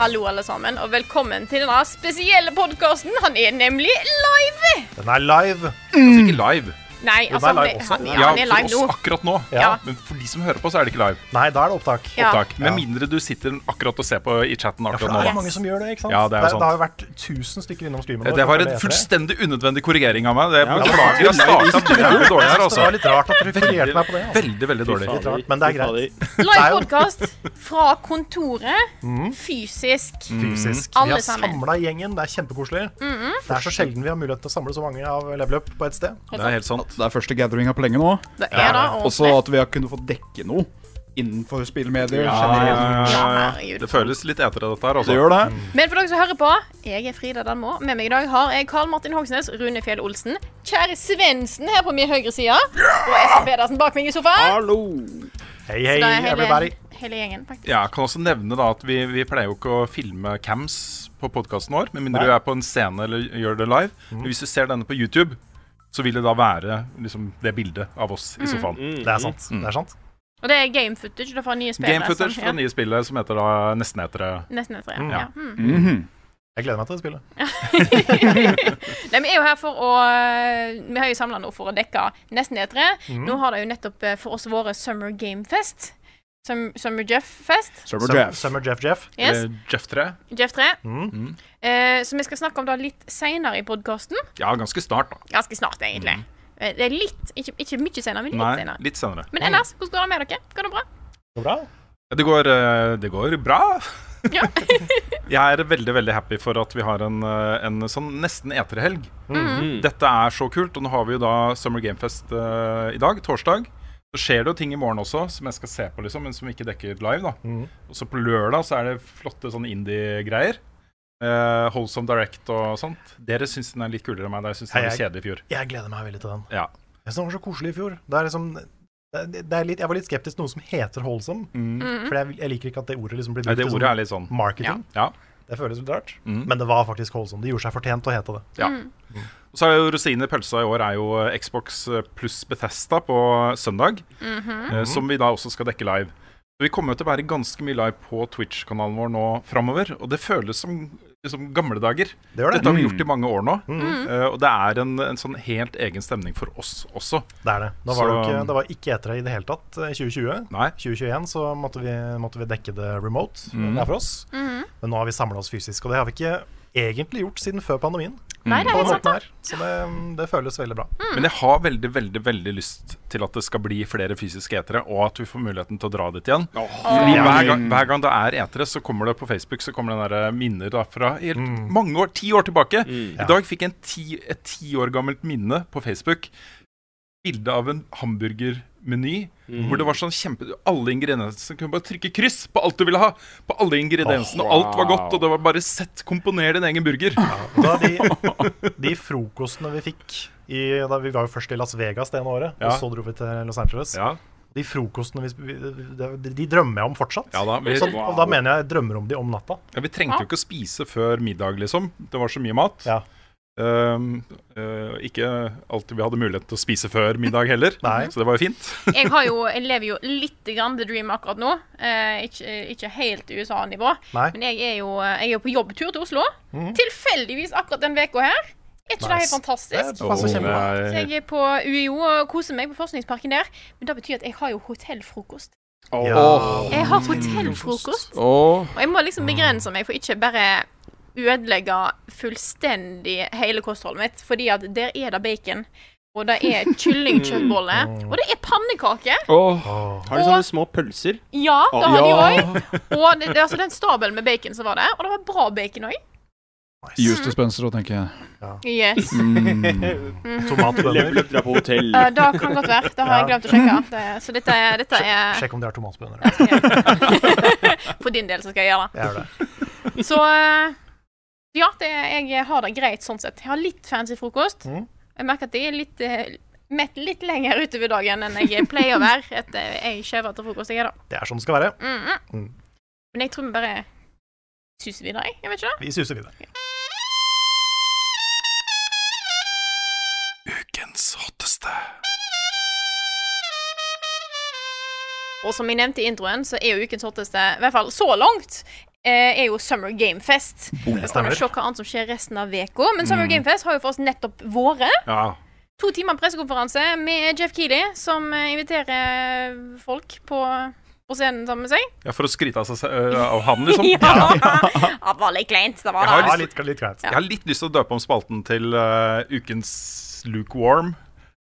Hallo, alle sammen, og velkommen til denne spesielle podkasten. Han er nemlig live! Den er live. Altså ikke live. Nei, Jo, altså, den er han, live er- også. han, ja, Ja, han er for live oss nå. akkurat nå. Ja. Men for de som hører på, så er det ikke live. Nei, da er det opptak. Ja. Takk. Med Ja. mindre du sitter akkurat og ser på i chatten Ja, for akkurat det er nå. mange som gjør det. ikke sant? Ja, det er jo sant. har jo vært 1000 stykker innom streamen. da. vår, Eh, Det var det en heter det. fullstendig unødvendig korrigering av meg. Det Ja, Beklager. det Jeg var- starta veldig dårlig her, Det var altså. litt rart at du korrigerte meg på det. altså. Veldig, veldig dårlig. Litt rart, men det er greit. Live podkast fra kontoret. Fysisk. Mm. Fysisk. Alle Vi har sammen. samla gjengen. Det er kjempekoselig. Det er så sjelden vi har mulighet til å samle så mange av level up på ett sted. Det er helt sant. Det er første gatheringa på lenge nå. Det er da Også eh, ordentlig. at vi har kunnet få dekke noe innenfor spillmedier. generelt. Ja, Ja, herregud. Eh, Det føles litt etere, dette her. Det Altså. gjør det. Men for dere som hører på, jeg er Frida Danmo. Med meg i dag har jeg Karl Martin Hogsnes, Rune Fjell Olsen, Kjære Svendsen her på min høyre side, og Espen Pedersen bak meg i sofaen. Hallo! Hei, Så hei, da er hele, everybody. hele gjengen, faktisk. Ja, jeg kan også nevne da at vi, vi pleier jo ikke å filme cams på podkasten vår, med mindre du er på en scene eller gjør det live. Mhm. Men hvis du ser denne på YouTube, så vil det da være liksom, det bildet av oss Mm. i sofaen. Det er sant. Mm. Det er sant. Og det er game footage da fra nye spillere. Game footage som- fra det nye spillet som heter da Nesten heter det ja, Nesten etter, ja. Ja. ja. Mm. Mhm. Jeg gleder meg til det spillet. Nei, Vi er jo her for å eh, Vi har jo samla nå for å dekke nesten E3. Nå har det jo nettopp eh, for oss våre Summer Game Fest. Sum, Summer Jeff Fest. Server Sum- Jeff. Summer Jeff Jeff. Yes, Eller Jeff 3. Jeff 3. Mm. Eh, så vi skal snakke om det litt seinere i podkasten. Ja, ganske snart, da. Ganske snart, egentlig. Eh, Det er litt, ikke, ikke mye senere, men litt Nei, senere. litt senere. Men ellers, hvordan går det med dere? Går det bra? Går det bra? Det går, eh, det går bra. Ja. Jeg er veldig veldig happy for at vi har en, eh, en sånn nesten eterhelg. Mhm. Mhm. Dette er så kult. Og nå har vi jo da Summer Gamefest eh, i dag, torsdag. Så skjer det jo ting i morgen også som jeg skal se på, liksom, men som vi ikke dekker live. da Mhm. Og så på lørdag så er det flotte sånn indie-greier. Eh, Holsome Direct og sånt. Dere syns den er litt kulere enn meg. da Jeg syns Hei, den var litt kjedelig i fjor. Jeg gleder meg veldig til den. Ja. Jeg synes den var så koselig i fjor. Det er liksom det, det er litt, Jeg var litt skeptisk til noe som heter Holsom. For jeg, jeg liker ikke at det ordet liksom blir Nei, brukt det til ordet er litt sånn sånn marketing. Ja. Det føles litt rart. Mm. Men det var faktisk Holsom. Det gjorde seg fortjent til å hete det. Ja. Mm. Og så er jo rosinen i pølsa i år er jo eh, Xbox pluss Bethesda på søndag, Mhm. eh, som vi da også skal dekke live. Så Vi kommer jo til å være ganske mye live på Twitch-kanalen vår nå framover, og det føles som liksom, gamle dager. Det Mm. gjør det. Dette har vi gjort i mange år nå, eh, og det er en, en sånn helt egen stemning for oss også. Det er det. Nå var det, jo Så- ikke, det var ikke etere i det hele tatt eh, i 2020. Nei. 2021 så måtte vi, måtte vi dekke det remote det Mhm. er for oss. Mhm. Men nå har vi samla oss fysisk, og det har vi ikke egentlig gjort siden før pandemien. Nei, det På er den helt sant. måten her. Så det, det føles veldig bra. Men jeg har veldig, veldig veldig lyst til at det skal bli flere fysiske etere, og at vi får muligheten til å dra dit igjen. Fordi hver, gang, hver gang det er etere, så kommer det på Facebook så kommer det der eh, minner da fra helt Mm. mange år, ti år tilbake. I dag fikk jeg en ti, et ti år gammelt minne på Facebook. Bilde av en hamburgermeny hvor det var sånn kjempe Alle ingrediensene kunne bare trykke kryss på alt du ville ha. På alle ingrediensene, og alt var godt, og det var bare sett, komponer din egen burger. Da de, de frokostene vi fikk i, da Vi var jo først i Las Vegas det ene året, Ja. og så dro vi til Los Angeles. Ja, De frokostene vi, sp- vi- de, de drømmer jeg om fortsatt. ja da. Vi, Sånn, Og da mener jeg jeg drømmer om de om natta. Ja, Vi trengte jo ikke å spise før middag, liksom. Det var så mye mat. Ja. Ehm, eh, ikke alltid vi hadde mulighet til å spise før middag heller, Nei. så det var jo fint. Jeg, har jo, jeg lever jo litt grann the dream akkurat nå. Eh, ikke, ikke helt USA-nivå. Nei. Mhm. Men jeg er jo, jeg er jo på jobbtur til Oslo. Tilfeldigvis akkurat den veka her. Er ikke det helt Nice. Det fantastisk? passer Åh, kjempebra. Så nei. jeg er på UiO og koser meg på forskningsparken der. Men det betyr at jeg har jo hotellfrokost. Ja. Jeg har hotellfrokost, Og og jeg må liksom begrense meg for ikke bare ødelegge fullstendig hele kostholdet mitt, fordi at der er det bacon. Og det er kyllingkjøttbolle. Mm. Og det er pannekake! Åh, Har de Og- sånne små pølser? Ja, det har de Ja. òg. Og det, det, er altså, den stabelen med bacon som var der. Og det var bra bacon òg. Just og Spencer òg, tenker jeg. Yes. Mhm. Mhm. Tomatbønner. Løpte deg på hotell. Eh, det kan godt være. Det har jeg glemt å sjekke. Det, så dette, er- dette er Sjekk om det er tomatbønner. For din del så skal jeg gjøre Jeg gjør det. det. Så eh, ja, det, jeg har det greit sånn sett. Jeg har litt fancy frokost. Mhm. Jeg merker at jeg er litt eh, mett litt lenger utover dagen enn jeg pleier å være. Etter jeg skjever etter frokost. Jeg er da. Det er sånn det skal være. Mhm. Mhm. Men jeg tror vi bare suser videre, jeg. Jeg vet ikke det. Vi suser videre. Ukens hotteste. Og som jeg nevnte i introen, så er jo ukens hotteste, i hvert fall så langt, eh, er jo Summer Game Fest. Vi kan jo stemmer. se hva annet som skjer resten av veka, men Summer Game Fest har jo for oss nettopp vært. Ja. To timer pressekonferanse med Jeff Keeley, som eh, inviterer folk på, på scenen sammen med seg. ja, for å skryte av, seg, se- øh, av han, liksom. Ja! Det var litt kleint, det var Jeg har det. Ja, litt, litt greit. Jeg har litt lyst til å døpe om spalten til øh, ukens lukewarm.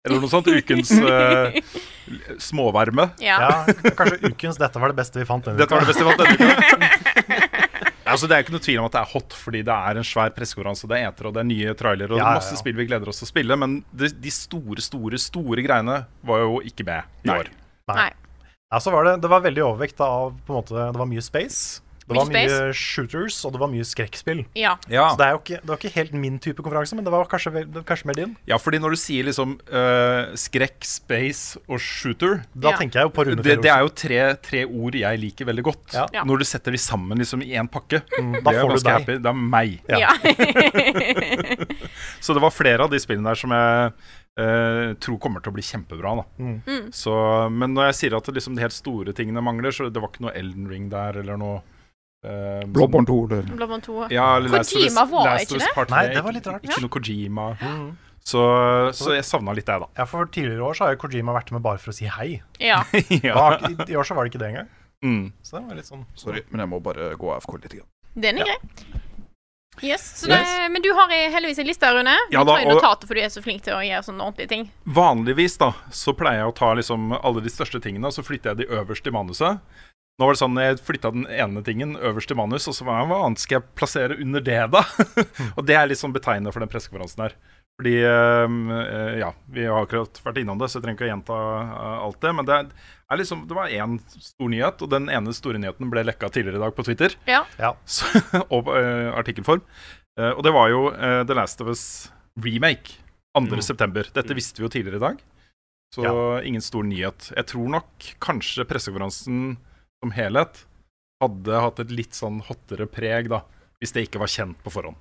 Eller noe sånt. Ukens øh, l- småvarme. Ja. Ja, kanskje ukens 'Dette var det beste vi fant'. denne Dette uka. var det beste vi har hatt denne uka. Altså, det er jo ikke noe tvil om at det er hot, fordi det er en svær pressekonferanse. Det er etere, og det er nye trailere, og Ja, ja, ja. masse spill vi gleder oss til å spille. Men de, de store, store store greiene var jo ikke med i år. Nei. Ja, så var det, det var veldig overvekt av på en måte, Det var mye space. Det var Mye mye space. shooters, og det var mye skrekkspill. Ja. Ja. Så det, er jo ikke, det var ikke helt min type konferanse, men det var kanskje, vel- det var kanskje mer din. ja, fordi når du sier liksom øh, skrekk, space og shooter Da Ja. tenker jeg jo på Rune det, det Fjell er jo tre, tre ord jeg liker veldig godt. Ja. Ja. Når du setter de sammen liksom, i én pakke. Olsen. Da Da får du deg. Happy. Det er meg. Ja. ja. Så det var flere av de spillene der som jeg eh, tror kommer til å bli kjempebra. Da. Mm. Mm. Så, men når jeg sier at det liksom, de helt store tingene mangler, så det var ikke noe Elden Ring der eller noe eh, sånn- Blåbånd 2, eller? Blåbånd 2. Ja, eller Last of Us- Kojima var Last ikke of Us det? Part Nei, Three. det var litt rart. Ikke noe Kojima. Så, så jeg savna litt det, da. Ja, for Tidligere år så har jo Kojima vært med bare for å si hei. Ja. Da ja. har ikke- I år så var det ikke det engang. mm. Så det var litt sånn Sorry, men jeg må bare gå AFK litt. Grann. Den er grei. Yes, så Yes. Det, men du har eh, heldigvis en liste, Rune. Du Ja da, tar jo og- notater, for du er så flink til å gjøre sånne ordentlige ting. Vanligvis da, så pleier jeg å ta liksom alle de største tingene, og så flytter jeg de øverst i manuset. Nå var det sånn, jeg flytta den ene tingen øverst i manus, og så var jeg, hva annet skal jeg plassere under det, da? og det er litt sånn betegnende for den pressekonferansen her. Fordi, øhm, øh, ja, vi har akkurat vært innom det, så jeg trenger ikke å gjenta øh, alt det. Men det, er, er liksom, det var én stor nyhet, og den ene store nyheten ble lekka tidligere i dag på Twitter Ja. så, og eh, artikkelform. Eh, og det var jo eh, The Last of Us remake 2. Mm. september. Dette visste vi jo tidligere i dag, så ingen stor nyhet. Jeg tror nok kanskje pressekonferansen som helhet hadde hatt et litt sånn hottere preg, da. Hvis det ikke var kjent på forhånd.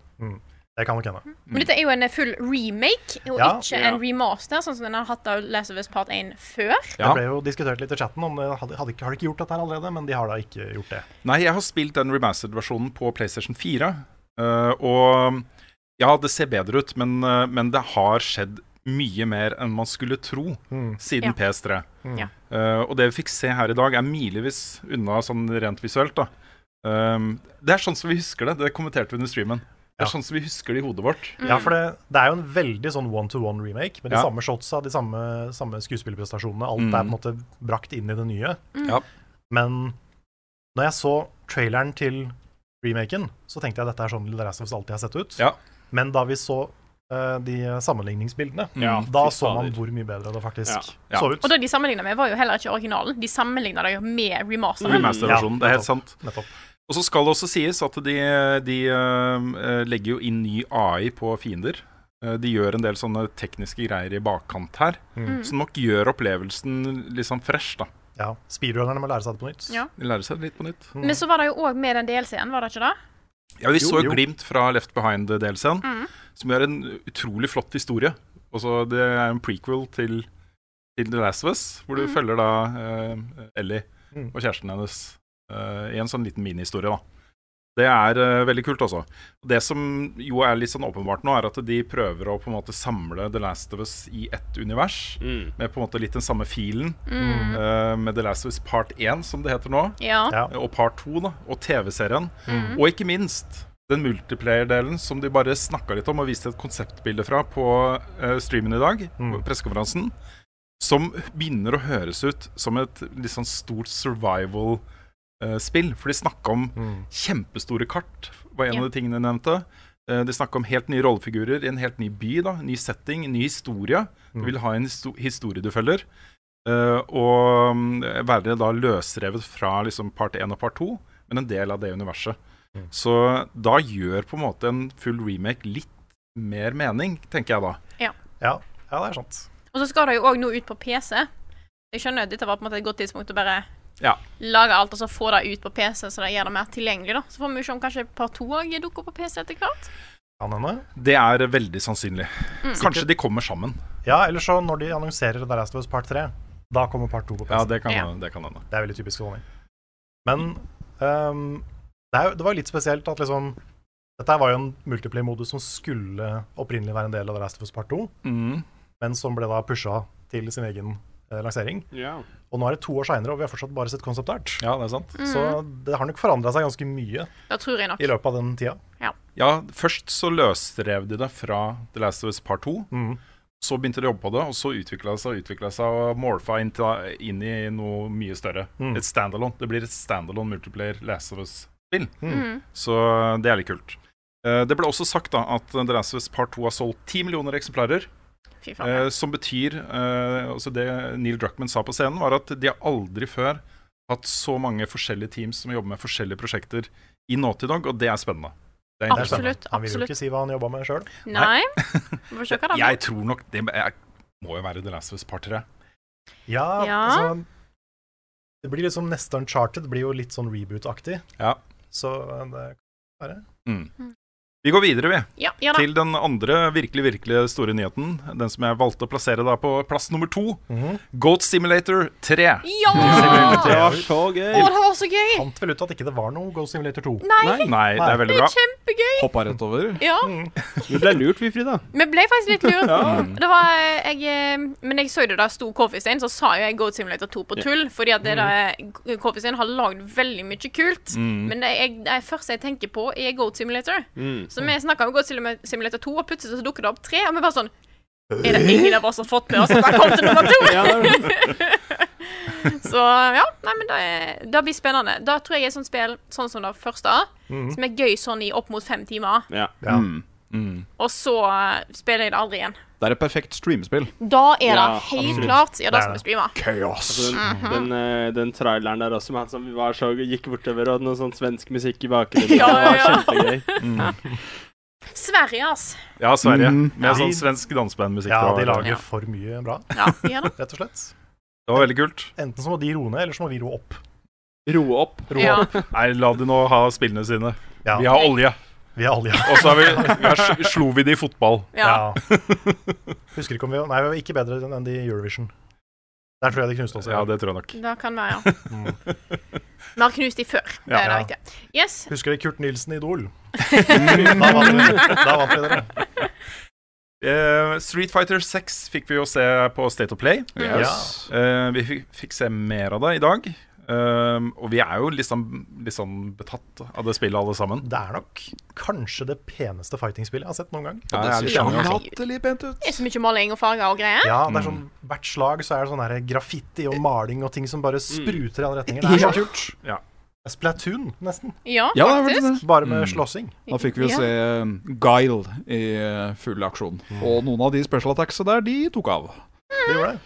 Det kan nok hende. Men dette er jo en eh, full remake, og Ja. ikke Ja. en remaster, sånn som den har hatt av Last of Us Part 1 før. Det Ja. ble jo diskutert litt i chatten om det hadde, hadde, ikke- har de ikke gjort dette her allerede, men de har da ikke gjort det. Nei, jeg har spilt den remastered-versjonen på PlayStation 4. eh, og ja, det ser bedre ut, men, eh, men det har skjedd mye mer enn man skulle tro Mm. Ja. siden PS3. Ja. Eh, og det vi fikk se her i dag, er milevis unna sånn rent visuelt. da. Um, det er sånn som vi husker det. Det kommenterte vi under streamen. Det Ja. er sånn som vi husker det i hodet vårt. Ja, for det, det er jo en veldig sånn one-to-one remake, med de Ja. Mm. samme shotsa, de samme, samme skuespillerprestasjonene. Alt er på en måte brakt inn i det nye. Mm. Ja. Men når jeg så traileren til remaken, så tenkte jeg at dette er sånn The Last of Us alltid har sett ut. Ja. Men da vi så eh, de sammenligningsbildene, Ja, da fy så man fader. hvor mye bedre det faktisk Mm. Ja. så ut. Og det de sammenligna med, var jo heller ikke originalen. De sammenligna det jo med remasteren. Remaster-versjonen, det er helt nettopp. sant. Nettopp. Og så skal det også sies at de, de eh, legger jo inn ny AI på fiender. Eh, De gjør en del sånne tekniske greier i bakkant her, Mm. som nok gjør opplevelsen litt sånn fresh. da. Ja. Speedrunnerne må lære seg det på nytt. Mm. Ja. De lærer seg det litt på nytt. Men så var det jo òg med den DLC-en, var det ikke det? Ja, Vi så jo. jo glimt fra Left Behind-delscenen, som er en utrolig flott historie. Også, det er en prequel til, til The Last of Us, hvor du følger da eh, Ellie Mm. og kjæresten hennes eh, i en sånn liten minihistorie. da. Det er eh, veldig kult, altså. Det som jo er litt sånn åpenbart nå, er at de prøver å på en måte samle The Last of Us i ett univers, Mm. med på en måte litt den samme filen, Mm. eh, med The Last of Us Part 1, som det heter nå Ja. Ja. og Part 2 da, og TV-serien. Og ikke minst den multiplayer-delen som de bare snakka litt om og viste et konseptbilde fra på eh, streamen i dag, på pressekonferansen, som begynner å høres ut som et litt sånn stort survival-spill. For de snakka om Mm. kjempestore kart, var en Ja. av de tingene de nevnte. Eh, De snakka om helt nye rollefigurer i en helt ny by, da, ny setting, ny historie. Du vil ha en histo- historie du følger. Eh, og mm, være da løsrevet fra liksom part 1 og part 2, men en del av det universet. Så da gjør på en måte en full remake litt mer mening, tenker jeg da. Ja, ja det er sant. Og så skal det jo òg nå ut på PC. Jeg skjønner at dette var på en måte et godt tidspunkt å bare Ja. lage alt og så få det ut på PC, så det gjør det mer tilgjengelig. da. Så får vi jo se om kanskje par to òg dukker opp på PC etter hvert. Kan hende. Det er veldig sannsynlig. Mm. Kanskje de kommer sammen. Ja, eller så når de annonserer The Last of Us Part 3, da kommer Part 2 på PC. Ja, det kan Ja. hende. det kan hende. Det er veldig typisk Sony. Men ehm, det, er, jo- det var jo litt spesielt at liksom Dette her var jo en multiplayer-modus som skulle opprinnelig være en del av The Last of Us Part 2, Mm. men som ble da pusha til sin egen eh, lansering. Ja. Og nå er det to år seinere, og vi har fortsatt bare sett konsept art. Ja, Mm. det er sant. Så det har nok forandra seg ganske mye Det tror jeg nok. i løpet av den tida. Ja, først så løsrev de det fra The Last of Us Part 2. Mm. Så begynte de å jobbe på det, og så utvikla det seg og utvikla seg og morfa inn, til, inn i noe mye større. Mm. Et standalone. Det blir et standalone multiplayer Last of Us-spill. Mm. Så det er litt kult. Eh, Det ble også sagt da at The Last of Us Part 2 har solgt 10 millioner eksemplarer. Fy Eh, faen. som betyr eh, altså Det Neil Druckman sa på scenen, var at de har aldri før hatt så mange forskjellige teams som jobber med forskjellige prosjekter i Naughty Dog, og det er spennende. Det er Det er interessant. spennende. Absolutt, Han vil jo absolutt. ikke si hva han jobba med sjøl. Nei. Vi får se hva det blir. Jeg tror nok det jeg, må jo være The Last of Us Part 3. Ja, Ja. altså Det blir liksom neste uncharted. Det blir jo litt sånn reboot-aktig. Ja. Så eh, det Vi går videre, vi. Ja, ja da. Til den andre virkelig, virkelig store nyheten. Den som jeg valgte å plassere da på plass nummer to. Mhm. Goat Simulator 3. Ja! Det Å, var så gøy! det var så gøy! fant vel ut at ikke det var noe Go Simulator 2. Nei, Nei, det er det veldig bra. er kjempegøy! Hoppa rett over. Ja. Vi ble lurt, vi, Frida. Vi ble faktisk litt lurt. Det var, eh, jeg, eh, men jeg så det da sto Coffeestein, så sa jo jeg Goat Simulator 2 på tull. Fordi Mm. at det da, Coffeestein har lagd veldig mye kult. Mm. Men det, jeg, det første jeg tenker på, er Goat Simulator. Mm. Mm. Så vi snakka om Goat Simu- Simulator 2, og plutselig så dukker det opp tre. Og vi bare sånn Er det ingen av oss som har fått med oss at det kom til nummer to? Så ja, nei, men det, er- det blir spennende. Da tror jeg er et sånt spill sånn som det første, som er gøy sånn i opp mot fem timer. Ja. Ja. Mm. Og så eh, spiller jeg det aldri igjen. Det er et perfekt streamspill. Da er Ja, det helt klart. Ja, da skal vi streame. Altså, Den, den, eh, den traileren der også, med han som var så, gikk bortover og hadde noe sånn svensk musikk i bakgrunnen. Ja, ja, ja. Det var kjempegøy. Sverige, ass. Ja, Sverige. Med Ja. sånn svensk dansebandmusikk. Ja, og- de lager Ja. for mye bra, Ja, ja da. rett og slett. Det var veldig kult. Enten så må de roe ned, eller så må vi roe opp. Roe opp. Ja. Nei, la de nå ha spillene sine. Ja, Vi har olje. vi er alle Og så har vi, vi har, s- slo vi de i fotball. ja. Husker ikke om vi Nei, vi var ikke bedre enn de i Eurovision. Der tror jeg de knuste oss. Ja, det tror jeg nok. Det kan være, ja. Vi har knust de før. Det er Ja. det viktige. Yes. Husker dere Kurt Nilsen i Idol? da Mm. vant vi, da vant vi dere. Eh, Street Fighter 6 fikk vi jo se på State of Play. Yes. Eh, vi fikk, fikk se mer av det i dag. Eh, og vi er jo litt sånn, litt sånn betatt av det spillet, alle sammen. Det er nok kanskje det peneste fightingspillet jeg har sett noen gang. Ja, det er litt ser sånn, altså. latterlig pent ut. Det er så mye maling og farger og greier. Ja, Mm. det er sånn, Hvert slag så er det sånn her graffiti og maling og ting som bare spruter i alle retninger. Det er så kult. Ja. Det er Splatoon, nesten. Ja, Ja, det er vel faktisk. det. Bare med slåssing. Da fikk vi jo Ja. se um, Guile i uh, full aksjon. Og noen av de special attacksa der, de tok av. Det gjorde det.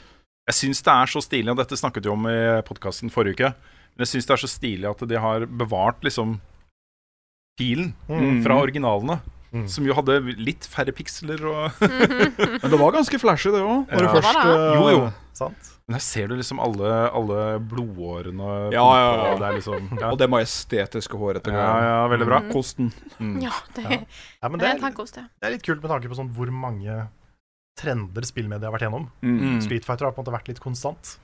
Jeg syns det er så stilig, og dette snakket vi om i podkasten forrige uke, men jeg syns det er så stilig at de har bevart liksom pilen Mm. fra originalene. Mhm. Som jo hadde litt færre piksler og Men det var ganske flashy, det òg. Ja. Det var det, ja. Jo, jo. Sant? Men her ser du liksom alle, alle blodårene og Ja, ja, ja. og Det er liksom ja. Og det Mhm. majestetiske håret Mm. etter ja, ja, veldig bra. Kosten. Ja, det, Ja, men det det, er en er, tankekost, det. det er litt kult med tanke på sånn hvor mange trender spillmedia har vært gjennom. Mm. Street Fighter har på en måte vært litt konstant.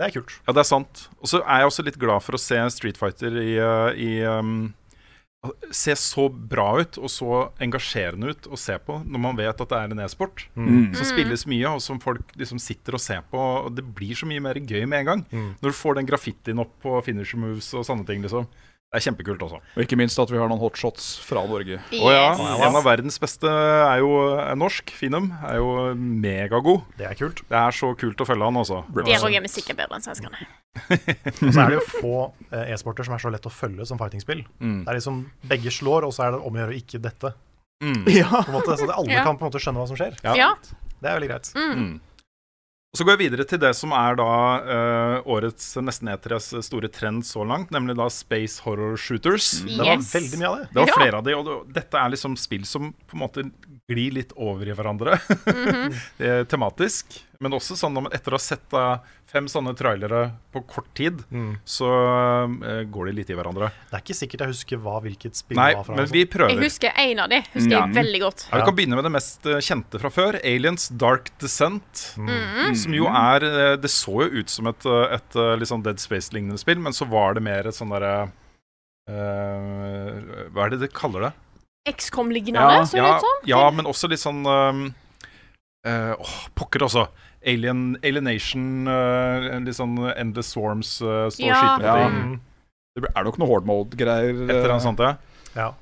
Det er kult. Ja, det er sant. Og så er jeg også litt glad for å se Street Fighter i, uh, i um, Se så bra ut og så engasjerende ut å se på når man vet at det er en e-sport Mm. som spilles mye, og som folk liksom sitter og ser på. Og det blir så mye mer gøy med en gang. Mm. Når du får den graffitien opp på finisher moves og sånne ting, liksom. Det er kjempekult også. Og ikke minst at vi har noen hotshots fra Norge. Yes. Å ja, Yes. En av verdens beste er jo er norsk. Finum er jo megagod. Det er kult. Det er så kult å følge han, altså. Der òg er vi sikkert bedre enn svenskene. Og så er det jo få eh, e-sporter som er så lett å følge som fightingspill. Mm. Det er liksom begge slår, og så er det om å gjøre å ikke dette. Mm. På en måte, så det, alle Ja. kan på en måte skjønne hva som skjer. Ja. Ja. Det er veldig greit. Mm. Mm. Og Så går jeg videre til det som er da eh, årets nesten E3s store trend så langt, nemlig da Space Horror Shooters. Det var Yes. veldig mye av det. Det var Mm. Ja. flere av de, og det- dette er liksom spill som på en måte glir litt over i hverandre Mhm. eh, tematisk. Men også sånn om etter å ha sett da, fem sånne trailere på kort tid, Mm. så eh, går de litt i hverandre. Det er ikke sikkert jeg husker hva hvilket spill Nei, var fra. altså. men og vi sånt. prøver. Jeg husker en av de. Husker jeg veldig godt. Ja, vi kan begynne med det mest eh, kjente fra før. Aliens Dark Descent. Mm. Som Mhm. jo er eh, Det så jo ut som et, eh, et eh, litt sånn Dead Space-lignende spill, men så var det mer et sånn derre eh, Hva er det de kaller det? XCOM-lignende, så ja, litt sånn. ja, men også litt sånn eh, eh, Åh, pokker også. Alien, Alienation, eh, litt sånn Endless Swarms, uh, står og Ja. skyter på Ja. Mm. ting. Det er nok noe horde mode-greier. Et eller annet sånt, ja. Ja.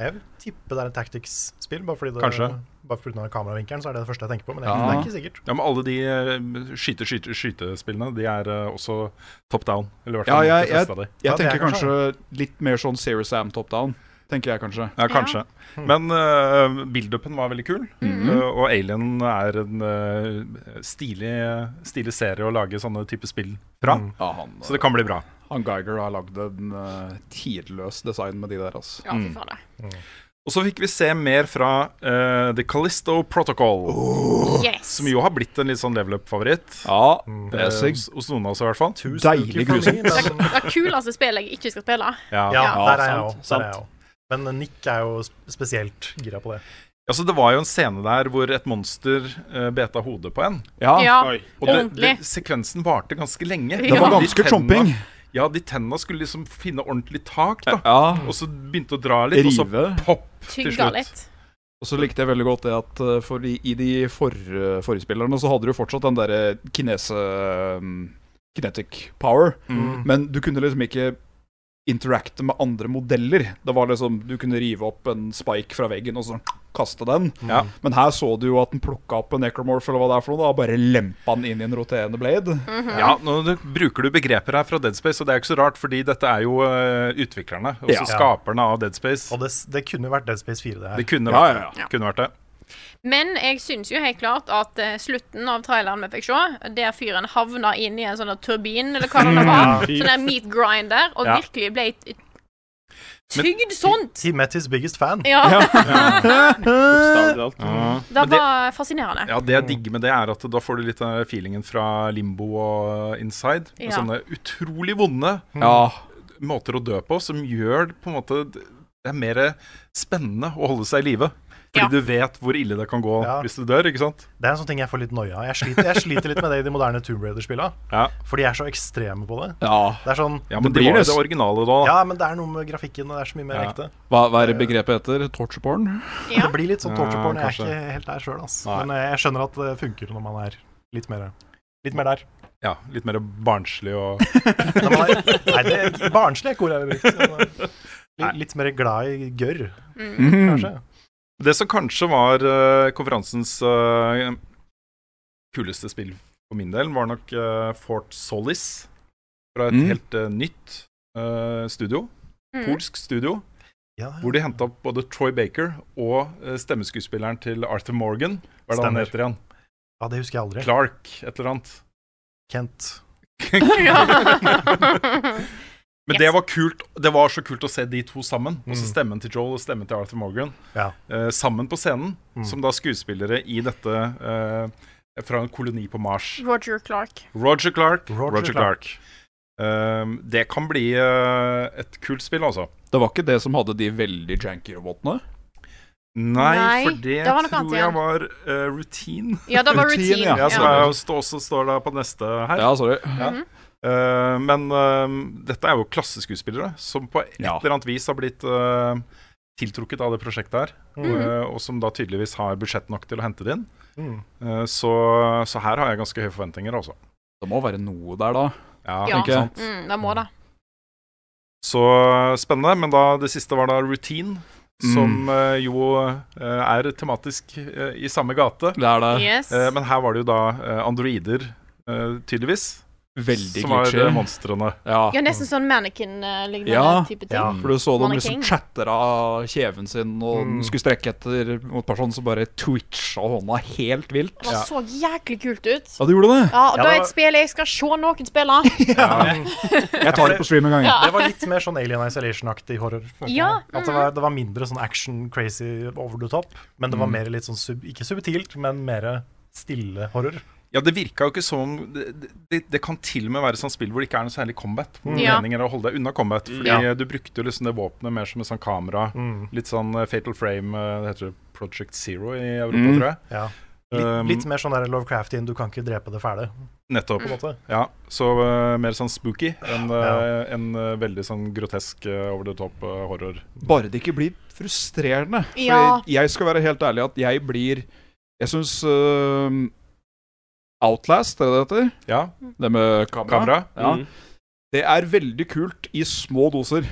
Jeg vil tippe det er en tactics-spill, bare fordi det Kanskje. Bare pga. kameravinkelen, så er det det første jeg tenker på. Men det, Ja. det er ikke sikkert. Ja, men alle de eh, skyte, skyte, skytespillene, de er eh, også top down. Eller i hvert Ja, fall jeg- de fleste av de. Jeg Ja, det er tenker kanskje litt mer sånn Serious Am top down. Tenker jeg kanskje. Ja, kanskje. Men uh, build-upen var veldig kul. eh, og Alien er en eh, stilig, stilig serie å lage sånne type spill fra. Ja, han, Så det kan bli bra. han Geiger har lagd en eh, tidløs design med de der, altså. Ja, fy Mm. fader. Og så fikk vi se mer fra eh, The Callisto Protocol, Yes. som jo har blitt en litt sånn level up-favoritt. Ja, det eh, er sig. hos- hos noen av oss, i hvert fall. Deilig grusomt. Det er- det er kuleste spillet jeg ikke skal spille. Ja. Ja, Ja, der er jeg sant, òg. Der er sant. jeg òg. Men eh, Nick er jo sp- spesielt gira på det. Altså, det var jo en scene der hvor et monster uh, beta hodet på en. Ja, Ja, Oi. Og det, ordentlig. det, sekvensen varte ganske lenge. Det var De ganske tenna- chomping. Ja, de tenna skulle liksom finne ordentlig tak, da. Ja, Og så begynte å dra litt, og så Rive. popp til Tygga slutt. litt. Og så likte jeg veldig godt det at eh, for i, i de for, eh, forespillerne så hadde du fortsatt den derre kinese... mm, Kinetic power. Mm. Men du kunne liksom ikke interacte med andre modeller. Det var liksom, Du kunne rive opp en spike fra veggen og så kaste den. Ja. Men her så du jo at den plukka opp en necromorph eller hva det er for noe, da, og bare lempa den inn i en roterende blade. Ja, nå du- bruker du begreper her fra Dead Space, og det er ikke så rart, fordi dette er jo eh, utviklerne, også Ja. skaperne av Dead Space. Og det, s- det kunne jo vært Dead Space 4, det her. Det kunne Ja, vært, ja, det. Kunne vært det. Men jeg syns jo helt klart at eh, slutten av traileren vi fikk se, der fyren havna inn i en sånn der turbin, eller hva det nå var, sånn der meat grinder, og Mm. Ja. virkelig ble t- tygd sånn. He met his biggest fan. Ja, Bokstavelig talt. det Men det- var fascinerende. Ja, Det jeg digger med det, er at da får du litt av feelingen fra Limbo og Inside. Med Ja. sånne utrolig vonde Ja. måter å dø på, som gjør på en måte det er mer spennende å holde seg i live. Fordi Ja. du vet hvor ille det kan gå Ja. hvis du dør, ikke sant? Det er en sånn ting jeg får litt noia av. Jeg sliter, jeg sliter litt med det i de moderne Tomb Raider-spillene. Ja. For de er så ekstreme på det. ja. Det er sånn Ja, men Det det, blir var jo det- det originale da. Ja, men det er noe med grafikken, og det er så mye mer Ja. ekte. Hva, hva er det begrepet heter? Torture porn? Det blir litt sånn torture Ja, porn. Jeg er kanskje. ikke helt der sjøl, ass. Nei. Men eh, jeg skjønner at det funker når man er litt mer Litt mer der. Ja, litt mer barnslig og Når man er, nei, det er barnslig er ikke ordet jeg ville brukt. men, eh, Litt, litt mer glad i gørr, Mhm. kanskje. Det som kanskje var eh, konferansens eh, kuleste spill for min del, var nok eh, Fort Solis fra et Mm. helt eh, nytt eh, studio. Mm. Polsk studio, Ja, hvor de henta opp både Troy Baker og eh, stemmeskuespilleren til Arthur Morgan. Hva er det han Stemmer. heter igjen? ja, det husker jeg aldri. Clark, et eller annet. Kent. Mm. Ja. Men Yes. det var kult Det var så kult å se de to sammen. Også Mm. stemmen til Joel og stemmen til Arthur Morgan. Ja. eh, sammen på scenen, Mm. som da skuespillere i dette eh, fra en koloni på Mars. Roger Clark. Roger Clark. Roger Ehm, det kan bli eh, et kult spill, altså. Det var ikke det som hadde de veldig janky robotene? Nei, Nei, for det, det var noe annet tror jeg igjen. var eh, routine. Ja, det var Routine, routine. ja. Ja, Ja, Mhm. som er, stå, også står da på neste her. Ja, sorry. Eh, men eh, dette er jo klasseskuespillere som på et Ja. eller annet vis har blitt eh, tiltrukket av det prosjektet her. Mm-hmm. eh, og som da tydeligvis har budsjett nok til å hente det inn. Mm. Eh, så, så her har jeg ganske høye forventninger, altså. Det må være noe der, da. Ja, Ja. ikke sant? Mm, det må det. Så spennende. Men da, det siste var da Routine, som Mm. eh, jo eh, er tematisk eh, i samme gate. Det er det. Yes. Eh, men her var det jo da eh, androider, eh, tydeligvis, Veldig som var eh, glitchy. monstrene. Ja. Ja, nesten sånn mannequin-lignende Ja. type ting. Ja. For du så dem Mannequin. liksom chatter av kjeven sin, og Mm. den skulle strekke etter mot personen, så bare twitcha hånda helt vilt. Det så jæklig kult ut. Ja, du gjorde det? Ja, Ja, og da det er var- et spill jeg skal se noen spille. Jeg tar det på stream en gang. jeg. Det var litt mer sånn Alien Isolation-aktig horror. følte Ja, jeg. At det var, det var mindre sånn action, crazy, over the top. Men Mm. det var mer litt sånn sub, ikke subtilt, men mer stille horror. Ja, det virka jo ikke som om- det, det, det kan til og med være sånn spill hvor det ikke er noe særlig combat. Mm. Hvor Ja. meningen er å holde deg unna combat. Fordi Ja. du brukte jo liksom det våpenet mer som et sånt kamera. Mm. Litt sånn eh, Fatal Frame, eh, det heter det Project Zero i Europa, Mm. tror jeg. Ja. Um, Litt, litt mer sånn der Lovecraftian, du kan ikke drepe det fæle. Nettopp. på en måte. Ja, så eh, mer sånn spooky enn eh, en, eh, veldig sånn grotesk eh, over the top eh, horror. Bare det ikke blir frustrerende. Fordi Ja. jeg skal være helt ærlig at jeg blir Jeg syns Outlast, er det det heter? Ja, Det med kamera? kamera. Ja. Mm. Det er veldig kult i små doser,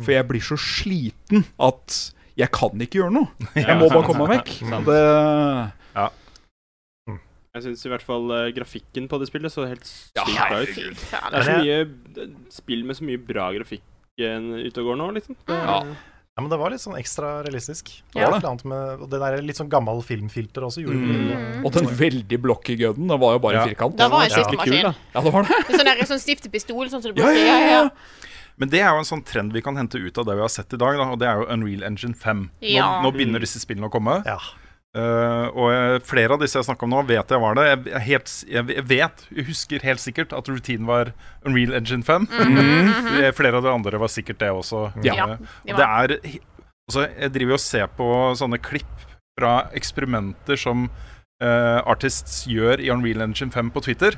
Mm. for jeg blir så sliten at jeg kan ikke gjøre noe. Jeg må bare komme meg vekk. Det, Jeg syns i hvert fall eh, grafikken på det spillet så helt Ja, sykt bra ut. Fy Det faen. er så mye spill med så mye bra grafikk igjen ute og går nå, liksom. Det, ja. Ja, men det var litt sånn ekstra realistisk. Det Ja. var et eller annet med, og det der litt sånn gammel filmfilter også gjorde Mm. Og den veldig blokke gunnen, den var jo bare Ja. en firkant. Det var en Den skikkelig skiftemaskin. kul, da. Ja, det var det. Sånn, der, sånn stifte pistol, sånn som du Ja, bruker. ja, ja, ja. Men det er jo en sånn trend vi kan hente ut av det vi har sett i dag, da, og det er jo Unreal Engine 5. Nå, Ja. nå begynner disse spillene å komme. Ja. Eh, og eh, flere av disse jeg snakker om nå, vet jeg var det. Jeg, jeg, helt, s- jeg, jeg vet, jeg husker helt sikkert at Routine var Unreal Engine 5. Mm. Eh, Flere av de andre var sikkert det også. Ja. Eh, Mhm. Ja, og de det er he- altså, Jeg driver jo og ser på sånne klipp fra eksperimenter som eh, artists gjør i Unreal Engine 5 på Twitter.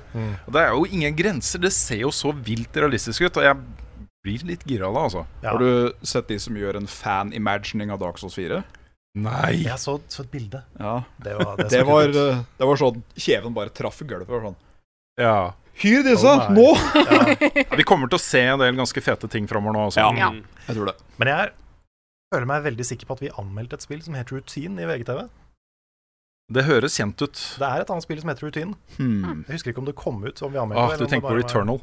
Og det er jo ingen grenser. Det ser jo så vilt realistisk ut, og jeg blir litt gira av det, altså. Ja. Har du sett de som gjør en fan-imagining av Dark Souls 4? Nei! Jeg så, så et bilde. Ja. Det var, det så Det kult var, ut. eh, det var sånn Kjeven bare traff gulvet. og Sånn. Ja. Hyr disse! Å, nei. nå! Ja, Vi kommer til å se en del ganske fete ting framover nå. Altså. Ja. Ja. Mm. Jeg tror det. Men jeg føler meg veldig sikker på at vi anmeldte et spill som heter Routine i VGTV. Det høres kjent ut. Det er et annet spill som heter Routine. Hmm. Jeg husker ikke om det kom ut. Om vi anmeldte Ah, det, eller du om det tenker på bare var- Returnal.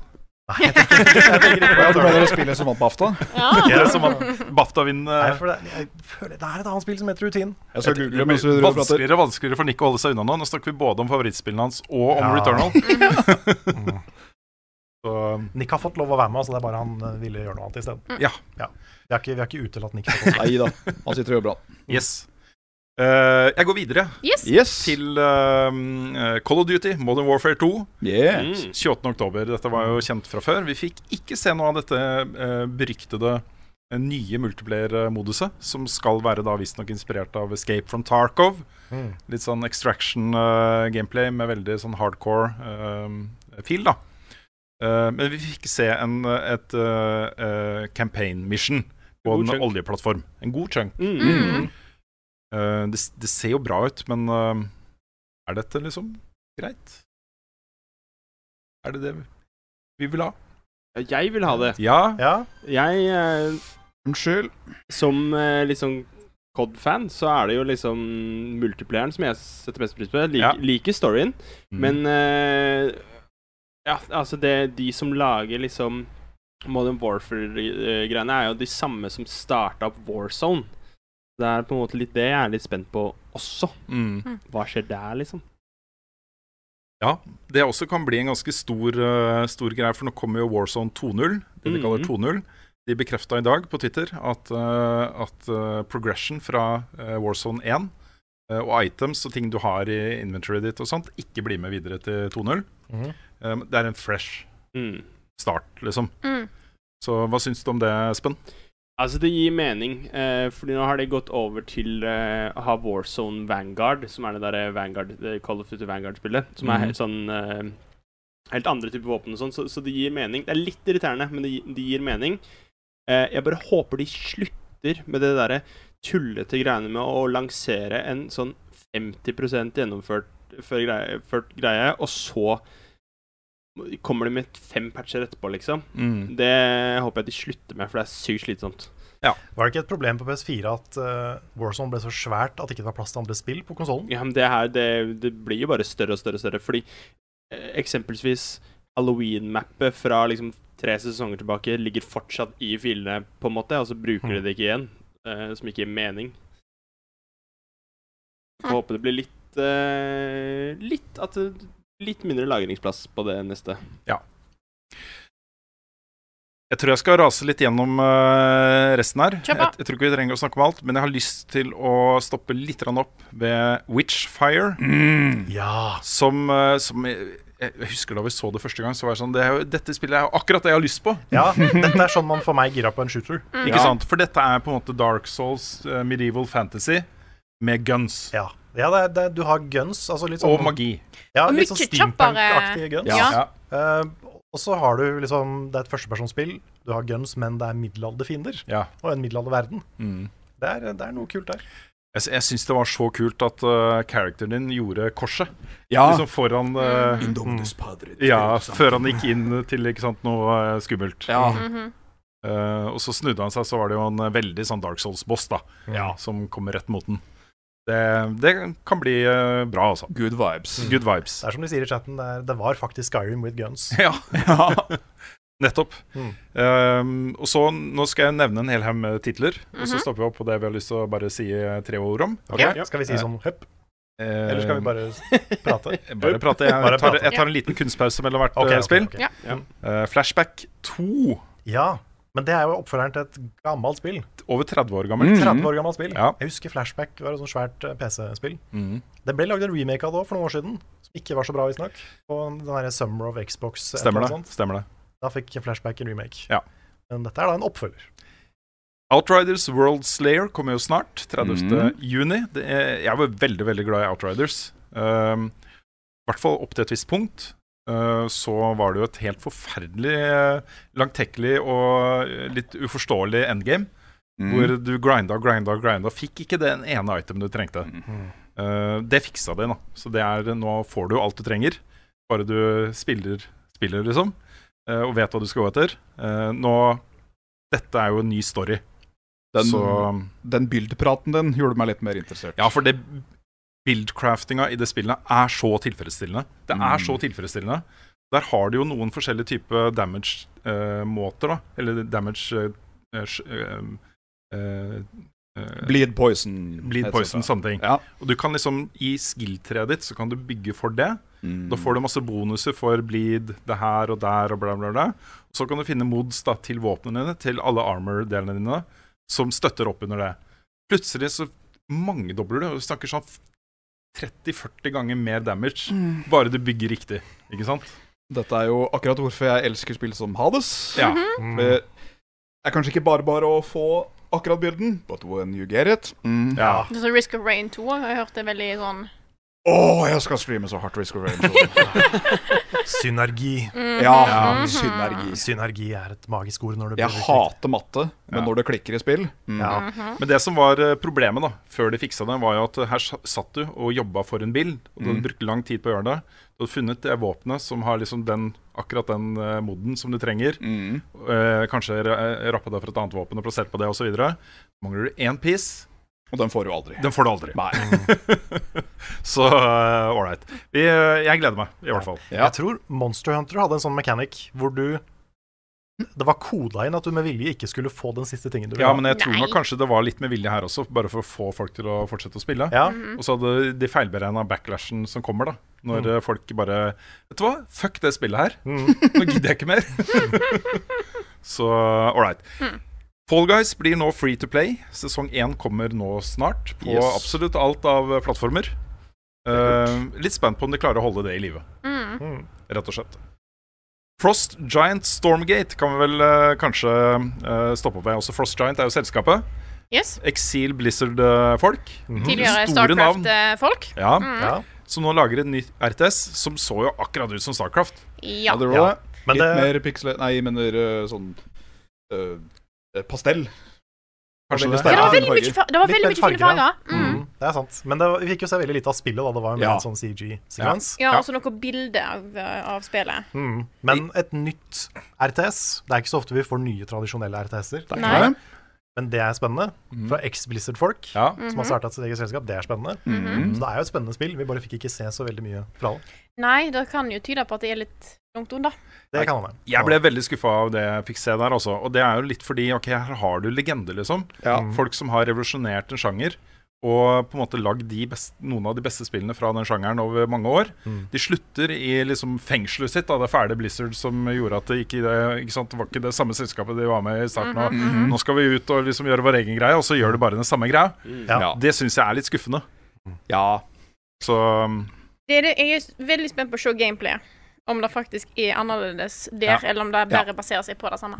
Nei, jeg tenker ikke- jeg tenker ikke på Ja, det ble Returnal. det spillet som vant BAFTA. Ja, som at BAFTA-vinner Nei, for det, jeg føler, det er et annet spill som heter Routine. Jeg skal google Det mens vi blir driver og prater. vanskeligere og vanskeligere for Nick å holde seg unna nå. Nå snakker vi både om favorittspillene hans og om Ja. Returnal. Mm. Så, mm. Nick har fått lov å være med, så det er bare han eh, ville gjøre noe annet isteden. Ja. Vi har ikke, vi har ikke utelatt Nick. fra oss. Nei da, han sitter og gjør bra. yes. Eh, jeg går videre Yes. Yes! til eh, Call of Duty, Modern Warfare 2. Yeah. mm. 28. oktober. Dette var jo kjent fra før. Vi fikk ikke se noe av dette eh, beryktede eh, nye multiplayer-moduset, som skal være da visstnok inspirert av Escape from Tarkov. Mm. Litt sånn extraction-gameplay med veldig sånn hardcore eh, feel, da. Eh, men vi fikk se en, eh, et eh, eh, campaign mission på God en chunk. oljeplattform. En god chunk. Mm. Mm. Eh, det, s- det ser jo bra ut, men eh, er dette liksom greit? Er det det vi- vi vil ha? Jeg vil ha det. Ja. Ja, Jeg, eh, Mm. Unnskyld. som eh, litt sånn COD-fan, så er det jo liksom multiplayeren som jeg setter mest pris på. Jeg liker, Ja. Mm. liker storyen, men eh, Ja, altså, det de som lager liksom Modern Warfare-greiene, er jo de samme som starta opp Warzone. Det er på en måte litt det jeg er litt spent på også. Mm. Hva skjer der, liksom? Det også kan bli en ganske stor, eh, stor greie, for nå kommer jo Warzone 2.0. Det de kaller Mhm. 2.0. De bekrefta i dag på Twitter at, eh, at eh, progression fra eh, Warzone 1 eh, og items og ting du har i inventoryet ditt og sånt, ikke blir med videre til 2.0. Mhm. Eh, det er en fresh Mm. start, liksom. Mm. Så hva syns du om det, Espen? Altså, det gir mening, eh, fordi nå har de gått over til eh, å ha Warzone Vanguard, som er det derre Vanguard, det Call of Duty Vanguard-spillet, som er Mhm. helt sånn eh, Helt andre typer våpen og sånn, så, så det gir mening. Det er litt irriterende, men det, gi- det gir mening. Eh, jeg bare håper de slutter med det derre tullete greiene med å lansere en sånn 50 gjennomført før greie, ført greie, og så Kommer de med fem patcher etterpå, liksom? Mm. Det håper jeg de slutter med, for det er sykt slitsomt. Var det ikke et problem på PS4 at eh, Warzone ble så svært at det ikke var plass til andre spill på konsollen? Ja, men det her, det, det blir jo bare større og større og større, fordi eh, eksempelsvis Halloween-mappet fra liksom tre sesonger tilbake ligger fortsatt i filene, på en måte, og så bruker de det ikke igjen, eh, som ikke gir mening. Får håpe det blir litt eh, litt, at, det- litt mindre lagringsplass på det neste. Jeg tror jeg skal rase litt gjennom eh, resten her. Kjør Jeg, på. jeg tror ikke vi trenger å snakke om alt, men jeg har lyst til å stoppe litt grann opp ved Witchfire. Mm. Ja. Som, eh, som jeg, jeg husker da vi så det første gang, så var jeg sånn det er jo, Dette spillet er jo akkurat det jeg har lyst på. ja. Dette er sånn man får meg gira på en shooter. Mm. Ikke sant? For dette er på en måte Dark Souls, eh, medieval fantasy med guns. Ja, ja det er, det er, du har guns. Altså litt sånn, Og magi. Ja, Og litt sånn mye kjappere. steampunk-aktige guns. Ja. Eh, og så har du liksom Det er et førstepersonsspill. Du har guns, men det er middelalderfiender. Ja. Og en middelalderverden. Mm. Det er, det er noe kult der. Jeg, sy- jeg syns det var så kult at eh, characteren din gjorde korset. Ja. Liksom foran eh, Mm. Ja, før han gikk inn til ikke sant, noe eh, skummelt. Ja. Mhm. Eh, og så snudde han seg, så var det jo en eh, veldig sånn Dark Souls-boss da som kommer rett mot den. Det, det kan bli eh, bra, altså. Good vibes. Good vibes. Det er som de sier i chatten, det, er, det var faktisk Skyrim with guns. Ja, nettopp. Mm. Eh, og så Nå skal jeg nevne en hel haug med titler, og Mhm. så stopper vi opp på det vi har lyst til å bare si eh, tre ord om. Ok, Skal vi si sånn høpp, Eh, eller skal vi bare prate? bare prate? Jeg Bare tar, prate. jeg tar en liten kunstpause mellom hvert Ok, eh, ok, spill. ok. Ja. Eh, Flashback 2, Ja, men det er jo oppfølgeren til et gammelt spill. over 30 år gammelt. 30 år gammelt spill. Mm. Ja. Jeg husker Flashback var et sånt svært eh, PC-spill. Mm. Det ble lagd en remake av det også for noen år siden, som ikke var så bra, visstnok. På den her Summer of Xbox. et eller Stemmer annet det. sånt. Stemmer det. Da fikk Flashback en remake. Ja. Men dette er da en oppfølger. Outriders World Slayer kommer jo snart, 30. Mm. juni. Det er, jeg var veldig, veldig glad i Outriders. Ehm, I hvert fall opp til et visst punkt. Eh, så var det jo et helt forferdelig eh, langtekkelig og eh, litt uforståelig endgame. Mm. Hvor du grinda, grinda, grinda. Fikk ikke den ene itemen du trengte. Mm. Eh, det fiksa de, da. Så det er, nå får du alt du trenger. Bare du spiller, spiller liksom. eh, og vet hva du skal gå etter. Eh, nå Dette er jo en ny story. Den, så den bildpraten din gjorde meg litt mer interessert. Ja, for det buildcraftinga i det spillet er så tilfredsstillende. Det er Mm. så tilfredsstillende. Der har du jo noen forskjellige typer damage-måter, da. Eller damage eh, sj- eh, eh, eh, Bleed poison. Bleed heter poison, det. sånne ting. Ja. Og du kan liksom, I skill-treet ditt så kan du bygge for det. Mm. Da får du masse bonuser for bleed, det her og der og bla, bla, bla. Så kan du finne mods da, til våpnene dine, til alle armor-delene dine, som støtter opp under det. Plutselig så mangedobler du, og du snakker sånn 30-40 ganger mer damage bare du bygger riktig. Ikke sant? Mm. Dette er jo akkurat hvorfor jeg elsker spill som Hades. Ja. Det Eh, er kanskje ikke bare bare å få akkurat bilden, but when you get it mm. ja. Det er sånn Risk of Rain 2 har jeg hørt det er veldig sånn Åh, jeg skal streame så hardt Risk of Rain. Synergi. ja, synergi. Synergi er et magisk ord når det Jeg brukt riktig. hater matte, men Ja. når det klikker i spill mm. Ja. Men det som var eh, problemet da, før de fiksa det, var jo at her sa- satt du og jobba for en bil, og du hadde brukt lang tid på å gjøre det. Du hadde funnet det våpenet som har liksom den, akkurat den eh, moden som du trenger. Mm. Eh, kanskje ra- rappa det fra et annet våpen og plassert på det osv. Mangler du én piece, Og den får du aldri. den får du aldri. Nei. Så eh, ålreit. Vi, eh, jeg gleder meg, i hvert fall. Ja. Jeg tror Monster Hunter hadde en sånn mechanic hvor du Det var koda inn at du med vilje ikke skulle få den siste tingen du ville Ja, ha. men jeg tror Nei. nok kanskje det var litt med vilje her også, bare for å få folk til å fortsette å spille. Ja. Og så hadde de feilberegna backlashen som kommer, da. Når eh, folk bare Vet du hva, fuck det spillet her. Mm. Nå gidder jeg ikke mer. så ålreit. Fall Guys blir nå free to play. Sesong én kommer nå snart på Yes. absolutt alt av eh, plattformer. Eh, litt spent på om de klarer å holde det i live, Mm. rett og slett. Frost Giant Stormgate kan vi vel eh, kanskje eh, stoppe ved. Også Frost Giant er jo selskapet. Yes. Exil Blizzard-folk. Tidligere Mm. eh, Store navn. Starcraft-folk. Ja, Ja. Som nå lager et nytt RTS som så jo akkurat ut som Starcraft. Ja. det Ja. var det. Men Litt det, mer piksle... Nei, jeg mener eh, sånn eh, eh, Pastell. Kanskje veldig det. Ja, det var Ja, veldig farger. mye, fa- det var Litt veldig mer mye farger, fine ja. farger. Mm. Mm. det er sant. Men det, var- vi fikk jo se veldig lite av spillet, da. Det var jo mer Ja. en sånn CG-sekvens. Ja, også noe bilde av, eh, av spillet. Mm. Men et nytt RTS Det er ikke så ofte vi får nye tradisjonelle RTS-er. ikke Nei. det. Men det er spennende. Fra ex-Blizzard-folk, Mm. Ja. som har starta sitt eget selskap. Det er spennende. Mhm. Så det er jo et spennende spill. Vi bare fikk ikke se så veldig mye fra det. Nei, det kan jo tyde på at det er litt langt unna. Det kan man Jeg ble veldig skuffa av det jeg fikk se der, altså. Og det er jo litt fordi ok, her har du legender, liksom. Folk som har revolusjonert en sjanger. Og på en måte lagd de best, noen av de beste spillene fra den sjangeren over mange år. De slutter i liksom fengselet sitt av det fæle Blizzard som gjorde at det ikke, ikke sant, det var ikke det samme selskapet de var med i starten. Og nå skal vi ut og liksom gjøre vår egen greie, og så gjør du bare den samme greia. Ja. Det syns jeg er litt skuffende. Ja. Så um, Det er det, jeg er veldig spent på å se gameplay. Om det faktisk er annerledes der, eller om det bare baserer seg på det samme.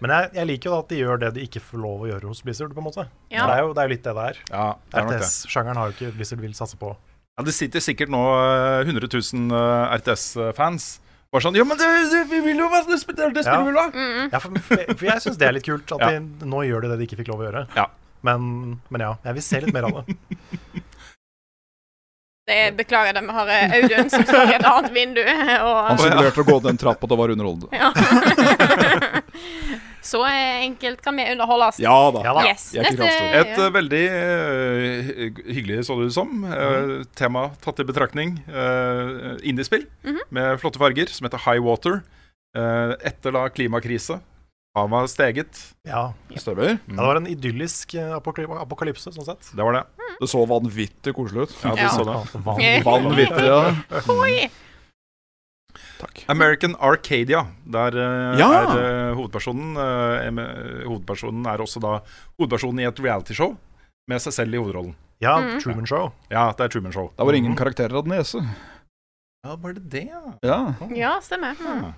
Men jeg, jeg liker jo da at de gjør det de ikke får lov å gjøre hos Blizzard, på en måte. Ja. Det, er jo, det er jo litt det det er. ja, det er nok det. RTS-sjangeren har jo ikke Blizzard vil satse på. Ja, det sitter sikkert nå eh, 100 000 eh, RTS-fans. Bare sånn Ja, men det, det, vi vil jo være spiller, det spiller vi da! Ja, for, for jeg syns det er litt kult at de, nå gjør de det de ikke fikk lov å gjøre. Ja. Men, men ja, jeg vil se litt mer av det. Det er, beklager det, vi har eh, Audun som står i et annet vindu. Han Og, simulerte å gå ned en trapp, og det var underholdende. ja. Så eh, enkelt kan vi underholdes. Ja da. Ja da. Yes. Jeg kunne avstå. Et eh, veldig eh, hy- hyggelig, så det ut som, Mm. eh, tema tatt i betraktning, eh, indiespill med flotte farger, som heter High Water. Eh, etter da klimakrise. Havet har steget. Ja. Stemmer. ja, Mm. det var en idyllisk eh, apokaly- apokalypse, sånn sett. Det var det. Det så vanvittig koselig ut. Ja, du Ja. så det. Ja. Vanvittig, ja. Oi. American Arcadia. Der eh, Ja. er eh, hovedpersonen eh, em- eh, Hovedpersonen er også da hovedpersonen i et realityshow med seg selv i hovedrollen. Ja, Mhm. Truman Show. Ja, det er Truman Show. Der var ingen karakterer av nese. Ja, var det det, ja? Ja. Ja, stemmer. Mm.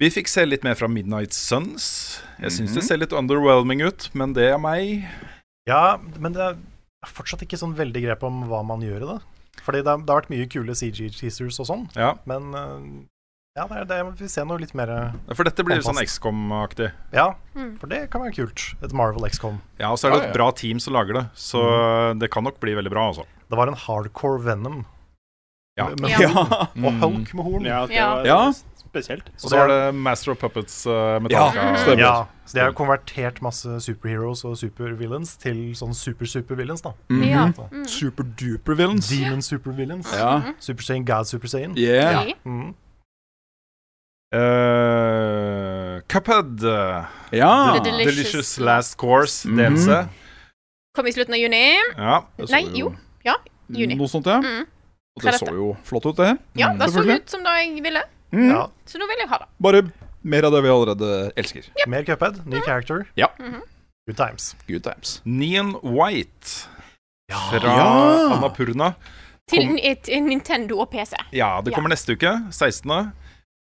Vi fikk se litt mer fra Midnight Suns. Jeg syns Mhm. det ser litt underwhelming ut, men det er meg. Ja, men det er fortsatt ikke sånn veldig grep om hva man gjør i det. Fordi det, har- det har vært mye kule CG-teasers og sånn, Ja, men eh, ja, det er det jeg vil se noe litt mer eh, For dette blir jo sånn Fantastisk. XCOM-aktig. Ja, Mm. for det kan være kult. Et Marvel XCOM. Ja, og så er det Ja, Mhm. et ja. bra team som lager det, så det kan nok bli veldig bra, altså. Det var en hardcore Venom. Ja. Med- med Ja. horn. Og Mm. Hulk med horn. Ja, det Ja. var Ja. spesielt. Og så var det Master of Puppets uh, Metallica. Ja, stemmer. Ja, så de har jo konvertert masse superheroes og supervillains til sånn super-supervillains, da. Mm. Mm-hmm. Ja. Mm. Superduper villains. Demon supervillains. Mm-hmm. Ja. Super Saiyan, God Super Saiyan. Yeah. Ja. Mm. Eh, Cuphead. uh, Ja. The Delicious Delicious Last Course, Ah. Mhm. DLC. Kom i slutten av juni. Ja. Det så Nei, jo. Ja, juni. Noe sånt, ja. Mm. Og det så jo flott ut, det. Mm, Ja, det så selvfølgelig. ut som det jeg ville, Mm. Ja. så nå vil jeg ha det. Bare mer av det vi allerede elsker. Mer Cuphead, ny character. Ja. Mhm. Good times. Good times. Neon White fra Ja. Annapurna. Til Kom- et, et Nintendo og PC. Ja, det Ja. kommer neste uke, 16.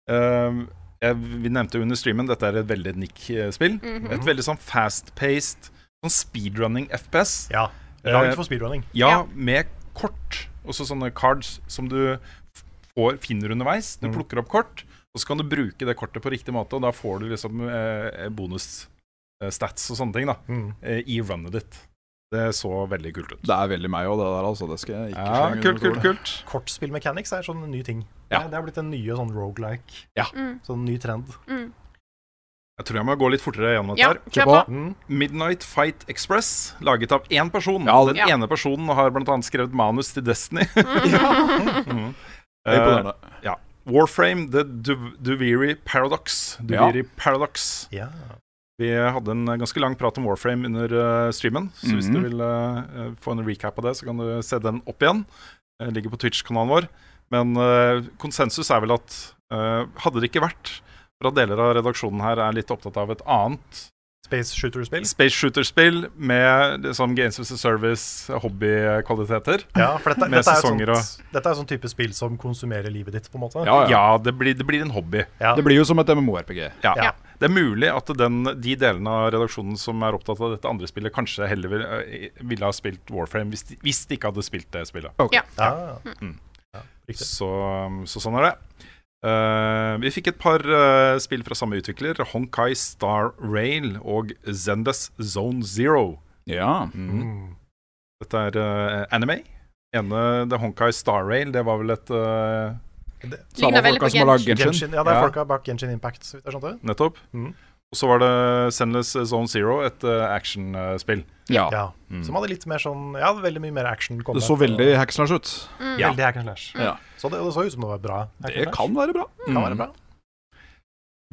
Eh, jeg, vi nevnte jo under streamen, dette er et veldig Nick-spill. Mhm. Et veldig sånn fast-paced, sånn speedrunning FPS. Ja. Eh, Laget for speedrunning. Ja, Ja. med kort, også sånne cards som du f- får, finner underveis. Du Mhm. Mm. plukker opp kort, og så kan du bruke det kortet på riktig måte, og da får du liksom eh, bonus eh, stats og sånne ting da, Mm. eh, i runnet ditt. Det så veldig kult ut. Det er veldig meg òg, det der, altså. Det skal jeg ikke Ja, slenge kult, under kult, bordet. kult. Kortspill mechanics er sånn en ny ting. Ja. Det, det er blitt en nye sånn roguelike Mm, Sånn ny trend. mm. Jeg tror jeg må gå litt fortere gjennom dette. Ja, her kjør på. Mm. Midnight Fight Express, laget av én person. Ja, Den ja. ene personen har bl.a. skrevet manus til Destiny. Mm. Det er imponerende. Eh, ja. Warframe The Du- Duviri Paradox. Duviri Paradox. Ja. Vi hadde en ganske lang prat om Warframe under eh, streamen, så hvis Mhm. du vil eh, eh, få en recap av det, så kan du se den opp igjen. Eh, ligger på Twitch-kanalen vår. Men eh, konsensus er vel at eh, hadde det ikke vært for at deler av redaksjonen her er litt opptatt av et annet Space shooter-spill. Space Shooter-spill med liksom Games as a Service-hobbykvaliteter. Ja, for dette, Med dette, er jo sesonger sånt, dette er sånn type spill som konsumerer livet ditt, på en måte. Ja, ja. Ja, det blir, det blir en hobby. Ja. Det blir jo som et MMO-RPG. Ja. Ja. Det er mulig at den, de delene av redaksjonen som er opptatt av dette andre spillet, kanskje heller vil- eh, ville ha spilt Warframe hvis de, hvis de ikke hadde spilt det spillet. Ja. Mm. Ja, riktig. Så, så sånn er det. Eh, vi fikk et par eh, spill fra samme utvikler, Honkai Star Rail og Zendes Zone Zero. Ja. Mm. Mm. Dette er eh, anime. Ene, det Honkai Star Rail, det var vel et eh, Ligner Samme veldig folka på som har laget Genshin. Genshin. Ja, det er folka bak Genshin Impact, så vidt jeg skjønte. Nettopp. Mhm. Og så var det Sendless Zone Zero, et eh, actionspill. Ja. Ja. Mm. Som hadde litt mer sånn Ja, veldig mye mer action. Det combat så veldig hack and slash ut. Mm. Ja. Veldig hack and slash. Ja. Så det, det så ut som det var bra. hack and Det slash. kan være bra. Mm. Kan være bra.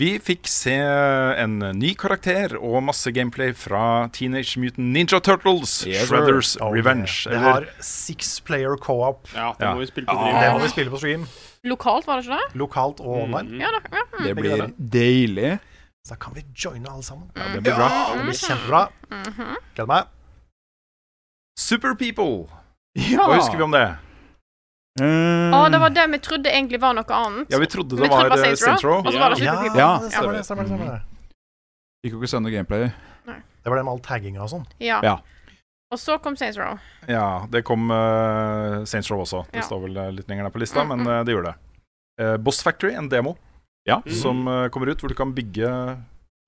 Vi fikk se eh, en ny karakter og masse gameplay fra Teenage Mutant Ninja Turtles, Yes, sir. Shredders Oh, Revenge. Det har six player co-op. Ja, Ah. det Ja. må vi spille på Ja. Det Dream. må vi spille på stream. Lokalt, var det ikke det? Lokalt og Mm. online. Ja, da, ja. Mm. Det blir deilig. Så da kan vi joine alle sammen. Ja, Mm-hmm. det blir bra. Det blir kjempebra. Mhm. Gleder meg. Super People, Ja. hva husker vi om det? Å, Mm. Ah, det var det vi trodde egentlig var noe annet. Ja, vi trodde Vi trodde det var det var eh, Saints Row. Saints Row. Og så var det Ja, Super People. Ja, det stemmer det. stemmer det, stemmer det. Fikk jo Eh, ikke se noe gameplay. det var det med all tagginga og sånn. Ja. Ja. Og så kom Saints Row. Ja, det kom eh, Saints Row også. Det Ja. står vel eh, litt lenger ned på lista, Mm, men mm. eh, det gjorde det. Eh, Boss Factory, en demo som eh, kommer ut, hvor du kan bygge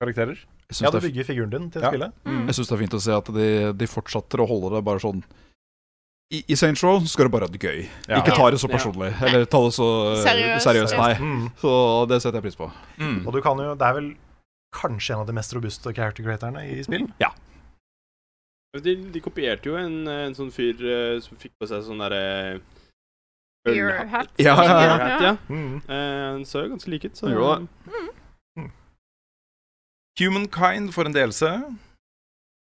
karakterer. Jeg Ja, syns du det, bygger figuren din til Ja. spillet. Mm. jeg synes det er fint å se at de, de fortsetter å holde det bare sånn I, i Saints Row så skal det bare ha det gøy. Ja. Ikke ta det så Ja. personlig. Eller ta det så eh, Seriøst. seriøst, nei. Mm. Så det setter jeg pris på. Mm. Og du kan jo Det er vel kanskje en av de mest robuste character creatorene i spill. De, de kopierte jo en, en sånn fyr eh, som fikk på seg sånn derre Your hat. Ja, ja, ja. Ølhatt, ja. Mm. Eh, Den så jo ganske lik ut, så Jo da. Humankind for en delelse.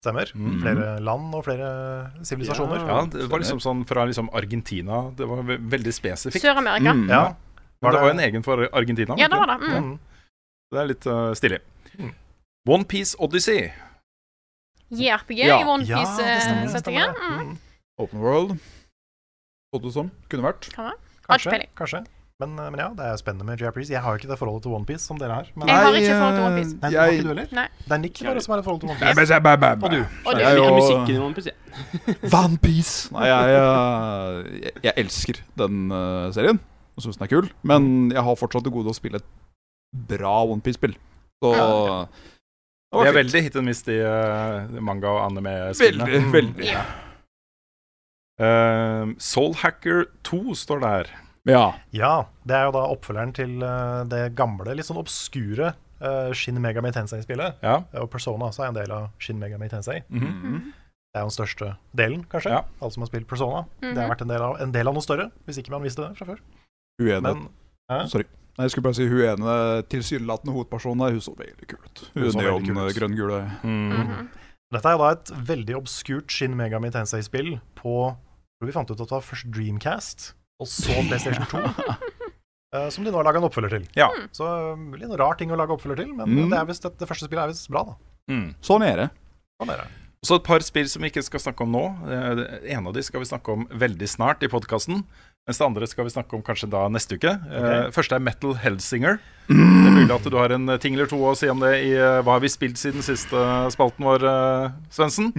Stemmer. Mm. Flere land og flere sivilisasjoner. Ja, det var liksom sånn fra liksom Argentina. Det var ve- veldig spesifikt. Sør-Amerika. Mm. Ja. Men det det- var jo en egen for Argentina. Ja, det var var det. Mm. Mm. det er litt uh, stilig. Mm. One Piece Odyssey. JRPG Ja. i One Ja, det stemmer, det stemmer Piece-settingen. det. Mm. Mm. Open World. Så det som. Kunne vært. Har ikke Kanskje. peiling. kanskje. Men, eh, men ja, det er spennende med JRPGs. Jeg har jo ikke det forholdet til Onepiece som dere har. Men Jeg har ikke forhold til One Piece. Nei, det har ikke du Jeg, heller? Nei. Det er Nick bare som har et forhold til Nei, Onepiece. men jeg, jeg, Og du. Og Jeg er Jeg jo- liker musikken i OnePiece, jeg. Vampyse! Nei, jeg, eh, jeg, jeg elsker den eh, serien og syns den er kul. Men jeg har fortsatt til gode å spille et bra OnePiece-spill. Så Det var er fint. veldig hit and miss, de eh, manga- og anime-spillene. Mm. Veldig, veldig. Ja. Eh, Soul Hacker 2 står der. Ja. Ja, det er jo da oppfølgeren til eh, det gamle, litt sånn obskure eh, Shin Megami Tensei-spillet. Ja. Og Persona også er en del av Shin Megami Tensei. Mhm. Mm-hmm. Mm. Det er jo den største delen, kanskje. Ja. Alle som har spilt Persona. Mm. Det har Mhm. vært en del, av, en del av noe større, hvis ikke man visste det fra før. Uenig. Men Nei, jeg skulle bare si hun ene tilsynelatende hovedpersonen her, hun så veldig kul ut. Hun eh, Hun så veldig kul ut. neon-grønn-gule. Mhm. Mhm. dette er jo da et veldig obskurt Shin Megami Tensei-spill på jeg tror Vi fant ut at det var først Dreamcast, og så PlayStation 2. eh, som de nå har laga en oppfølger til. Ja. Så eh, litt rar ting å lage oppfølger til, men Mhm. Mm. det, er visst, det første spillet er visst bra, da. Mm. Sånn er det. Sånn er det. Og Så et par spill som vi ikke skal snakke om nå. Eh, det ene av de skal vi snakke om veldig snart i podkasten. Mens det andre skal vi snakke om kanskje da neste uke. Eh, Første er Metal Hellsinger. Det er mulig at du har en eh, ting eller to å si om det i eh, Hva har vi spilt siden siste spalten vår, eh, Svendsen?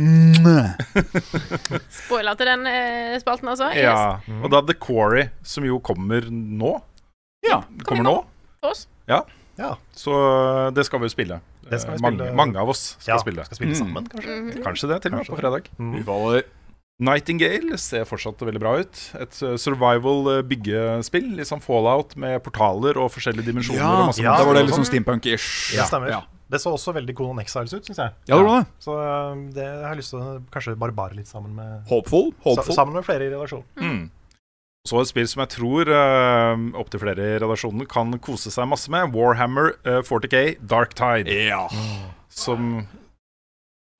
Spoiler til den eh, spalten, altså. Yes. Ja. Mhm. Og da The Quarry, som jo kommer nå. Ja. Kommer nå. For oss. Ja, Så eh, det skal vi jo spille. Det skal vi Eh, mange, spille. mange av oss skal ja, spille. Skal spille Mm. sammen, kanskje. Mhm. Kanskje det, til og med Kanskje på fredag. Mm. Ufaller. Nightingale ser fortsatt veldig bra ut. Et eh, survival eh, byggespill. Litt sånn fallout med portaler og forskjellige dimensjoner. Ja, og masse ja, det var det monster litt og sånn steampunk-ish. Det stemmer. Ja, Det så også veldig Conan Exiles ut, syns jeg. ja det var det. Så eh, det har jeg lytt til å kanskje barbare litt sammen med, Hopeful. sa, Hopeful. sammen med flere i redaksjonen. sånt. Mm. Så et spill som jeg tror uh, opptil flere i redaksjonen kan kose seg masse med. Warhammer eh, 40K Dark Tide, Ja. som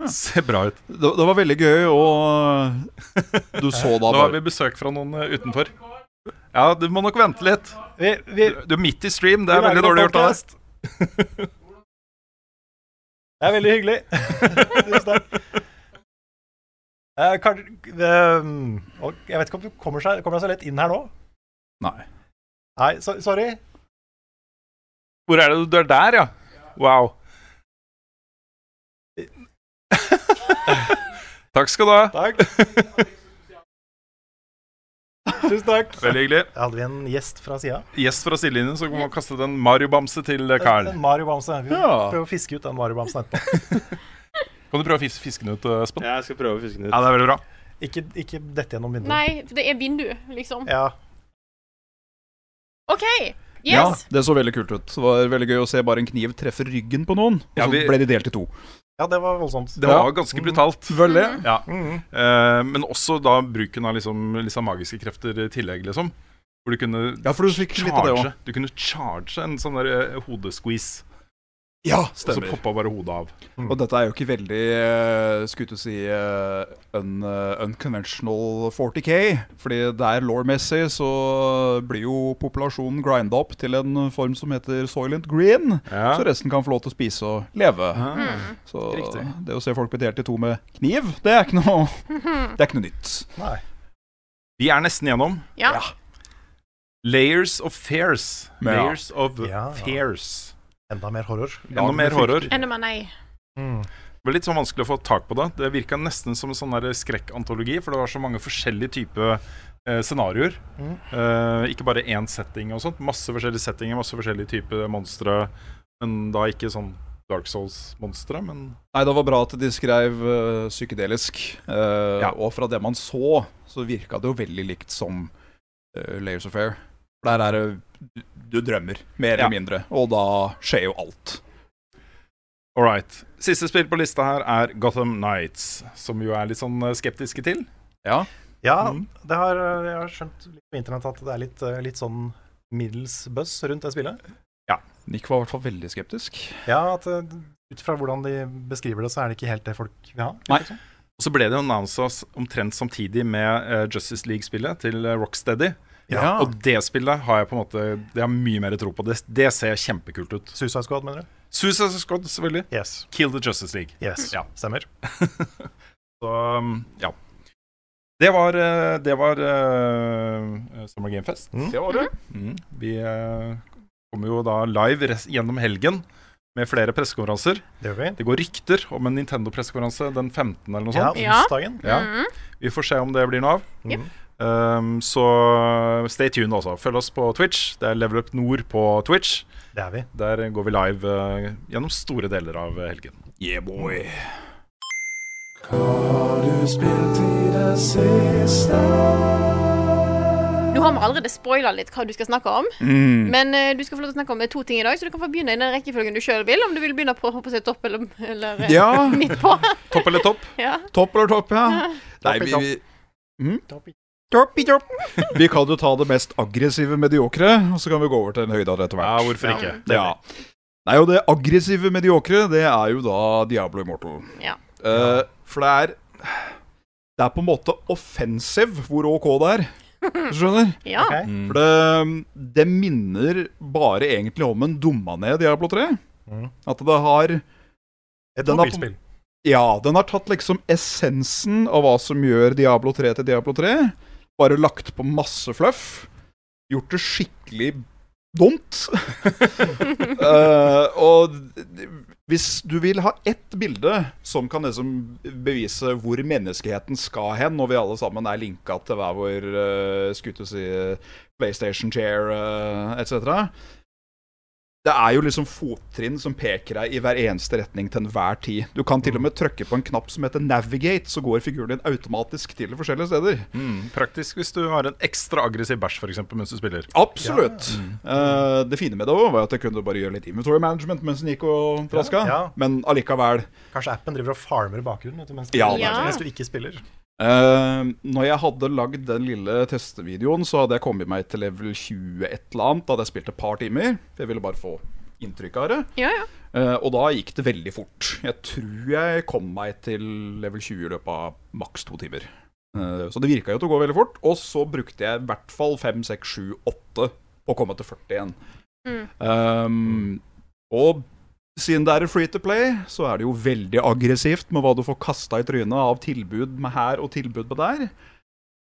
Ja. ser bra ut. Det, det var veldig gøy, og du så da Nå har vi bare besøk fra noen eh, utenfor. Ja, du må nok vente litt. Du- Du er midt i stream, det er veldig dårlig gjort av deg. Det er veldig hyggelig. Tusen takk. Eh, kan, eh, og jeg vet ikke om du kommer, seg, kommer deg så lett inn her nå. Nei. Nei, so, sorry. Hvor er det du- du er der, ja? Wow. Takk skal du ha. Takk. Tusen takk. Veldig hyggelig. Hadde vi en gjest fra sida? Gjest fra sidelinjen, så kan man kaste den Mario-bamse til eh, Carl. En Mario-bamse. Vi Ja. prøver å fiske ut den Mario-bamsen etterpå. Kan du prøve å fis- fiske den ut, eh, Espen? Jeg skal prøve å fiske den ut. Ja, det er veldig bra. Ikke, ikke dette gjennom vinduet. Nei, det er vindu, liksom. Ja. OK! Ja, Yes! det så veldig kult ut. Det var veldig gøy å se bare en kniv treffe ryggen på noen, og Ja, så vi- ble de delt i to. ja, Mm. det var voldsomt. Det var ganske brutalt. Veldig. Ja. Mhm. Eh, men også da bruken av liksom, liksom magiske krefter i tillegg, liksom. Hvor du kunne Ja, for du fikk litt av det òg. charge, du kunne charge en sånn der eh, hodesqueeze, Ja, og så stemmer. poppa bare hodet av. Og dette er jo ikke veldig eh, skulle til å si eh, un, eh, unconventional 40K. Fordi der law-messig så blir jo populasjonen grinda opp til en form som heter soylent green. Ja. Så resten kan få lov til å spise og leve. Ah. Så Riktig. det å se folk bli delt i to med kniv, det er ikke noe, det er ikke noe nytt. Nei. Vi er nesten gjennom. Ja. Layers of fears. Ja. Layers of Ja. fears. Enda mer horror. Enda mer horror. Enda mer nei. Mm. Det var litt sånn vanskelig å få tak på det. Det virka nesten som en sånn der skrekkantologi, for det var så mange forskjellige typer eh, scenarioer. Eh, ikke bare én setting og sånt. Masse forskjellige settinger, masse forskjellige typer monstre. Men da ikke sånn Dark Souls-monstre, men Nei, det var bra at de skrev eh, psykedelisk. eh, Ja. Og fra det man så, så virka det jo veldig likt som eh, Layers of Air. Der er det du, du drømmer, mer Ja. eller mindre. Og da skjer jo alt. all right. Siste spill på lista her er Gotham Nights, som vi jo er litt sånn eh, skeptiske til. Ja. Ja, Mm. det har, jeg har skjønt litt på internett at det er litt, eh, litt sånn middels buzz rundt det spillet. Nick var i hvert fall veldig skeptisk. Ja, at eh, ut fra hvordan de beskriver det, så er det ikke helt det folk vil ha. Nei. Og så ble det annonsa omtrent samtidig med eh, Justice League-spillet til eh, Rocksteady. Ja. Og det spillet har jeg på en måte Det har jeg mye mer tro på. Det, det ser kjempekult ut. Suicide Squad, mener du? Suicide Squad, selvfølgelig. Yes. Kill the Justice League. yes. Ja. Stemmer. Så um, ja. Det var, eh, det var eh, Summer Game Fest. Mm. Det var det. Mm. Vi eh, kommer jo da live res gjennom helgen med flere pressekonferanser. Det gjør vi. Det går rykter om en Nintendo-pressekonferanse den 15. eller noe Ja, sånt. Ja. onsdagen. Mm. Ja. Mhm. Mm. Vi får se om det blir noe av. Yep. Um, så stay tuned, altså. Følg oss på Twitch. Det er Level Up Nord på Twitch. Det er vi. Der går vi live eh, gjennom store deler av eh, helgen. Yeah, boy. Nå har vi allerede spoila litt hva du skal snakke om, Mm. men eh, du skal få lov til å snakke om eh, to ting i dag, så du kan få begynne i den rekkefølgen du sjøl vil, om du vil begynne på å hoppe seg topp eller, eller eh, Ja. midt på. Topp eller topp? ja. Topp eller topp, ja. Nei, vi, vi Mm? Topp i topp. Vi kan jo ta det mest aggressive mediokre, og så kan vi gå over til en høydere etter hvert. Ja, hvorfor ikke? Det er Ja. Mm. Nei, og det aggressive mediokre, det er jo da Diablo Immortal. Ja. Eh, for det er Det er på en måte offensive hvor OK det er. Hvis du skjønner? ja. Ok. For det, det minner bare egentlig om en dumma ned Diablo 3. Mhm. At det har Et Den har- mobilspill. Ja, den har tatt liksom essensen av hva som gjør Diablo 3 til Diablo 3. Bare lagt på masse fluff. Gjort det skikkelig dumt. Eh, og d- hvis du vil ha ett bilde som kan liksom bevise hvor menneskeheten skal hen, når vi alle sammen er linka til hver vår uh, skutte si PlayStation chair uh, etc. Det er jo liksom fottrinn som peker deg i hver eneste retning til enhver tid. Du kan til og med trykke på en knapp som heter 'navigate', så går figuren din automatisk til forskjellige steder. Mm, praktisk hvis du har en ekstra aggressiv bæsj for eksempel, mens du spiller. Absolutt. Mm. Eh, det fine med det også var at jeg kunne bare gjøre litt inventory management mens den gikk og Ja, traska, ja. men allikevel Kanskje appen driver og farmer i bakgrunnen vet du, mens, du- Ja, det er det. mens du ikke spiller. Eh, når jeg hadde lagd den lille testevideoen, så hadde jeg kommet meg til level 20 et eller annet. Da hadde jeg spilt et par timer. For jeg ville bare få inntrykk av det. ja, ja. Eh, og da gikk det veldig fort. Jeg tror jeg kom meg til level 20 i løpet av maks to timer. Eh, så det virka jo til å gå veldig fort. Og så brukte jeg i hvert fall 5, 6, 7, 8 på å komme til 40 igjen. Mm. Um, og siden det er free to play, så er det jo veldig aggressivt med hva du får kasta i trynet av tilbud med her og tilbud med der.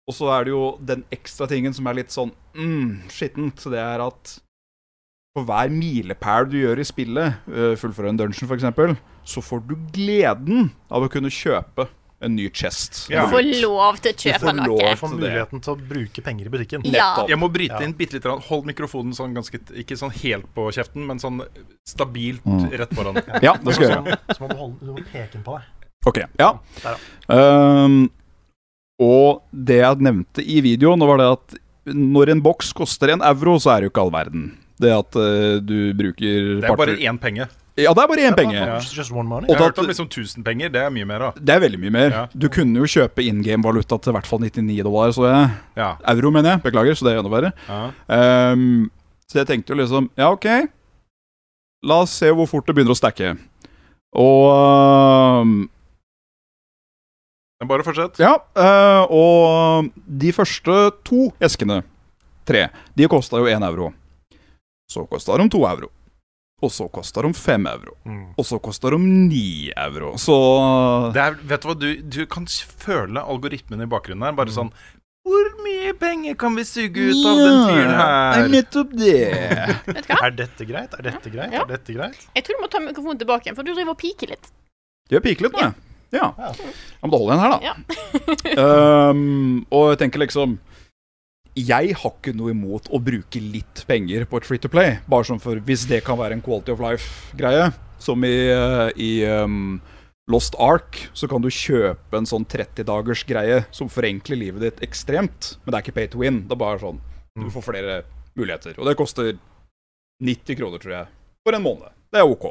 Og så er det jo den ekstra tingen som er litt sånn mm, skittent, det er at for hver milepæl du gjør i spillet, øh, fullføre en dungeon f.eks., så får du gleden av å kunne kjøpe en ny chest. Ja. Du får lov til å Du kjøpe får noe. lov Får til det. muligheten til å bruke penger i butikken. Ja. Jeg må bryte Ja. inn bitte litt. Hold mikrofonen sånn ganske Ikke sånn helt på kjeften, men sånn stabilt Mm. rett foran. Ja, det skal jeg gjøre. Så må du, holde, du må peke den på deg. Ok, ja. Der, Ehm, Og det jeg nevnte i videoen, var det at når en boks koster en euro, så er det jo ikke all verden. Det at eh, du bruker Det er bare parter- én penge. Ja, det er bare én penge. Ja. Just one money. Og Jeg har at- hørt om liksom 1000 penger. Det er mye mer, da. Det er veldig mye mer. Ja. Du kunne jo kjøpe in game-valuta til i hvert fall 99 dollar, så jeg. Ja. Euro, mener jeg. Beklager, så det er enda verre. Ja. Ehm, så jeg tenkte jo liksom Ja, OK. La oss se hvor fort det begynner å stacke. Og ehm, Men bare fortsett. Ja. eh, og de første to eskene, tre, de kosta jo én euro. Så kosta de to euro. Og så kosta de fem euro. Mm. Og så kosta de ni euro. Så Det er, vet du hva, du, du kan s- føle algoritmen i bakgrunnen her. Mm. Bare sånn Hvor mye penger kan vi suge ut av den fyren Ja, her? nettopp det. Vet du hva? Er dette greit? Er dette greit? Ja. Er dette greit? Jeg tror du må ta mikrofonen tilbake igjen, for du driver og piker litt. De har piket litt nå, jeg. Ja. ja. Men da holder jeg den her, da. Ja. Ehm, og jeg tenker liksom Jeg har ikke noe imot å bruke litt penger på et free to play, bare sånn for hvis det kan være en quality of life-greie. Som i, eh, i ehm, Lost Ark, så kan du kjøpe en sånn 30-dagers greie som forenkler livet ditt ekstremt, men det er ikke pay to win. Det er bare sånn Du får flere muligheter. Og det koster 90 kroner, tror jeg, for en måned. Det er ok.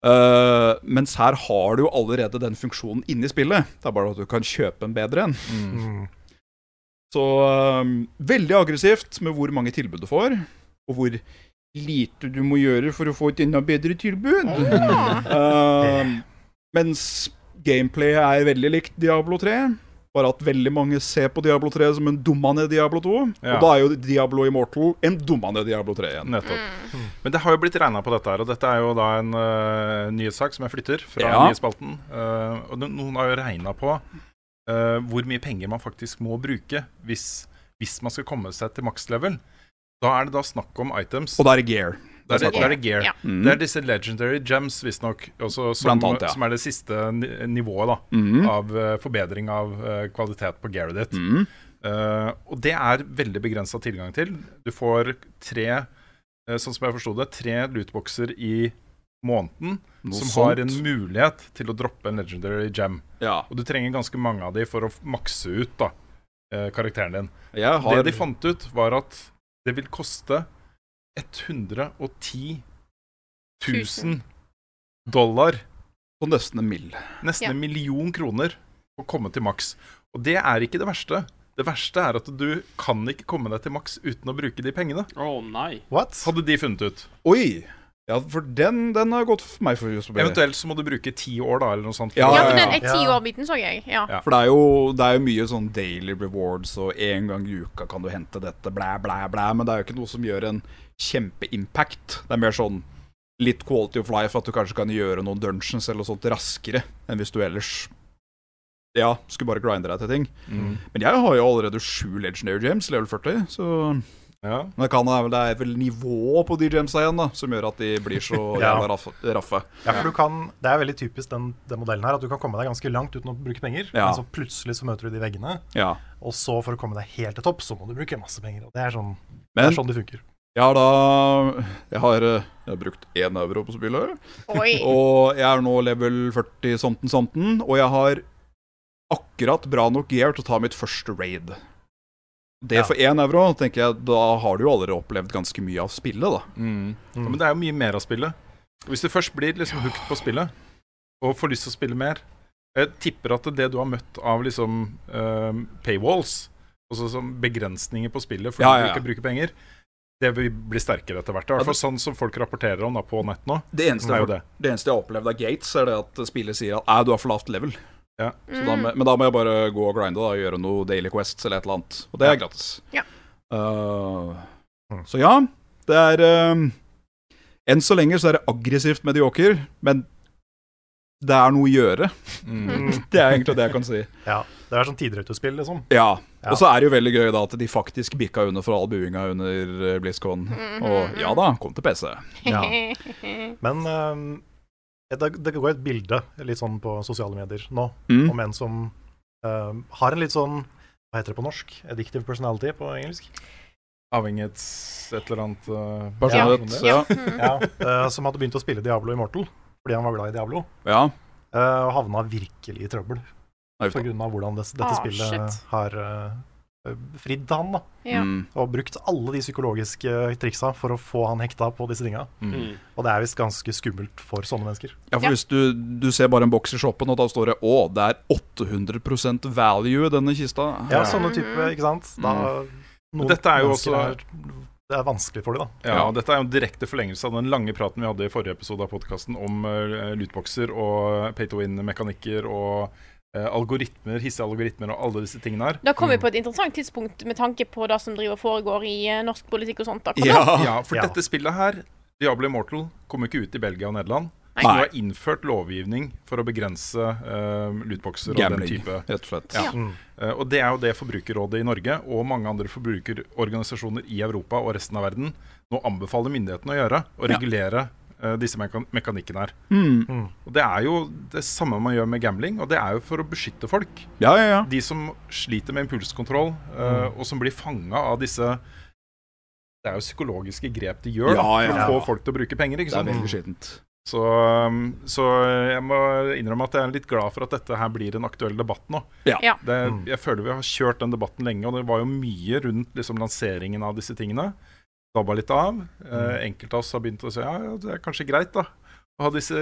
Eh, mens her har du jo allerede den funksjonen inni spillet. Det er bare at du kan kjøpe en bedre en. Mm. Så eh, veldig aggressivt med hvor mange tilbud du får, og hvor lite du må gjøre for å få et enda bedre tilbud. Eh, mens gameplayet er veldig likt Diablo 3. Bare at veldig mange ser på Diablo 3 som en dummende Diablo 2. Ja. Og da er jo Diablo Immortal en dummende Diablo 3 igjen. Nettopp. Mm. Men det har jo blitt regna på dette her, og dette er jo da en øh, nyhetssak som jeg flytter fra Ja. nyhetsspalten. Øh, og no- noen har jo regna på øh, hvor mye penger man faktisk må bruke hvis, hvis man skal komme seg til maks level. Da er det da snakk om items. Og da er det gear. Da er det, da er det gear. Ja. Mm. Det er disse legendary gems, visstnok, også som, Blant annet, ja. som er det siste ni- nivået da, Mhm. av øh, forbedring av øh, kvalitet på gearet ditt. Mm. Eh, og det er veldig begrensa tilgang til. Du får tre, eh, sånn som jeg forsto det, tre lootboxer i måneden Noe som sånt. har en mulighet til å droppe en legendary gem. Ja. Og du trenger ganske mange av de for å f- makse ut da, eh, karakteren din. Jeg har Det de fant ut, var at det vil koste 110 000 Tusen. dollar på nesten en mill. Nesten Ja. en million kroner å komme til maks. Og det er ikke det verste. Det verste er at du kan ikke komme deg til maks uten å bruke de pengene. Å nei. What? Hadde de funnet ut. Oi! Ja, for den, den har gått for meg for hus forbi. Eventuelt så må du bruke ti år, da, eller noe sånt. Ja, Ja, for ja, den ja. er ti år-biten så jeg. Ja. Ja. For det er, jo, det er jo mye sånn daily rewards, og én gang i uka kan du hente dette, blæ, blæ, blæ. Men det er jo ikke noe som gjør en kjempeimpact. Det er mer sånn litt quality of life, at du kanskje kan gjøre noen dungeons eller noe sånt raskere enn hvis du ellers Ja, skulle bare grinde deg til ting. Mm. Men jeg har jo allerede sju legendary gems, level 40, så Ja. Men det, kan, være- det er vel nivået på de gemsa igjen da, som gjør at de blir så Ja. jævla raff- raffe. Ja, for du kan, Det er veldig typisk den, den modellen her, at du kan komme deg ganske langt uten å bruke penger. Ja. Men så plutselig så møter du de veggene, Ja. og så for å komme deg helt til topp, så må du bruke masse penger. Og Det er sånn det, Men er sånn det funker. Jeg har da Jeg har, eh, jeg har brukt én euro på spillet. Oi. Og jeg er nå level 40 somten somten, og jeg har akkurat bra nok gear til å ta mitt første raid. Det Ja. for én euro, tenker jeg, da har du jo allerede opplevd ganske mye av spillet, da. Mm. Mm. Ja, Men det er jo mye mer av spillet. Og Hvis du først blir liksom hooked på spillet, og får lyst til å spille mer Jeg tipper at det du har møtt av liksom eh, paywalls, altså som begrensninger på spillet fordi Ja, ja, du ikke ja. bruker penger, det vil bli sterkere etter hvert. I Ja, hvert fall sånn som folk rapporterer om da på nett nå. Det eneste, Det er jo jeg, det. det eneste jeg har opplevd av Gates, er det at spillet sier at «Nei, du har for lavt level. Ja. Så da, må- men da må jeg bare gå og grinde da, og gjøre noe Daily Quests eller et eller annet. Og det er gratis. Ja. Uh, Mm. så ja, det er um, Enn så lenge så er det aggressivt medioker, men det er noe å gjøre. Mm. Det er egentlig det jeg kan si. Ja, Det er sånn tidrøytespill, liksom. Ja. Ja. Og så er det jo veldig gøy da at de faktisk bikka under for all buinga under eh, BlizzCon. Og ja da, kom til PC. Ja. Men ehm, det, det går et bilde litt sånn på sosiale medier nå Mm. om en som ehm, har en litt sånn hva heter det på norsk? Addictive personality på engelsk? Avhengighets et eller annet eh, Personlighet. personlighet. Ja. Mm. Ja, eh, Som hadde begynt å spille Diablo Immortal fordi han var glad i Diablo. ja. eh, og havna virkelig i trøbbel. Nei, På grunn av hvordan det, dette Ah, spillet shit. har eh, fridd til han. da Ja. Mm. Og brukt alle de psykologiske triksa for å få han hekta på disse tinga. Mm. Og det er visst ganske skummelt for sånne mennesker. Ja, for hvis du, du ser bare en boks i shoppen, og da står det 'Å, det er 800 value i denne kista'. Ja, sånne type, Mhm. ikke sant? Da, Mm. Men Dette er jo mennesker også er, Det er vanskelig for dem, da. ja, Dette er jo en direkte forlengelse av den lange praten vi hadde i forrige episode av podkasten om uh, lootboxer og pay to win-mekanikker og eh, algoritmer, hissige algoritmer og alle disse tingene her. Da kom vi Mm. på et interessant tidspunkt med tanke på det som driver og foregår i eh, norsk politikk og sånt. akkurat Ah, Ja. nå. Ja, for Ja. dette spillet her, Diablo Immortal, kom jo ikke ut i Belgia og Nederland. Nei. Så det er innført lovgivning for å begrense eh, lootboxer og den Gambling, type. rett og slett. Ja. Eh, og det er jo det Forbrukerrådet i Norge og mange andre forbrukerorganisasjoner i Europa og resten av verden nå anbefaler myndighetene å gjøre, å Ja. regulere eh, disse mekan mekanikkene her. Mm. Og Det er jo det samme man gjør med gambling, og det er jo for å beskytte folk. ja, ja, ja. De som sliter med impulskontroll, eh, Mm. og som blir fanga av disse Det er jo psykologiske grep de gjør da, Ja, ja, for å ja. få folk til å bruke penger. ikke Det er sant? veldig skittent. Så, um, så jeg må innrømme at jeg er litt glad for at dette her blir en aktuell debatt nå. Ja. Ja. Det, jeg føler vi har kjørt den debatten lenge, og det var jo mye rundt liksom, lanseringen av disse tingene. Dabba litt av. Eh, enkelte av oss har begynt å si ja, ja, det er kanskje greit da å ha disse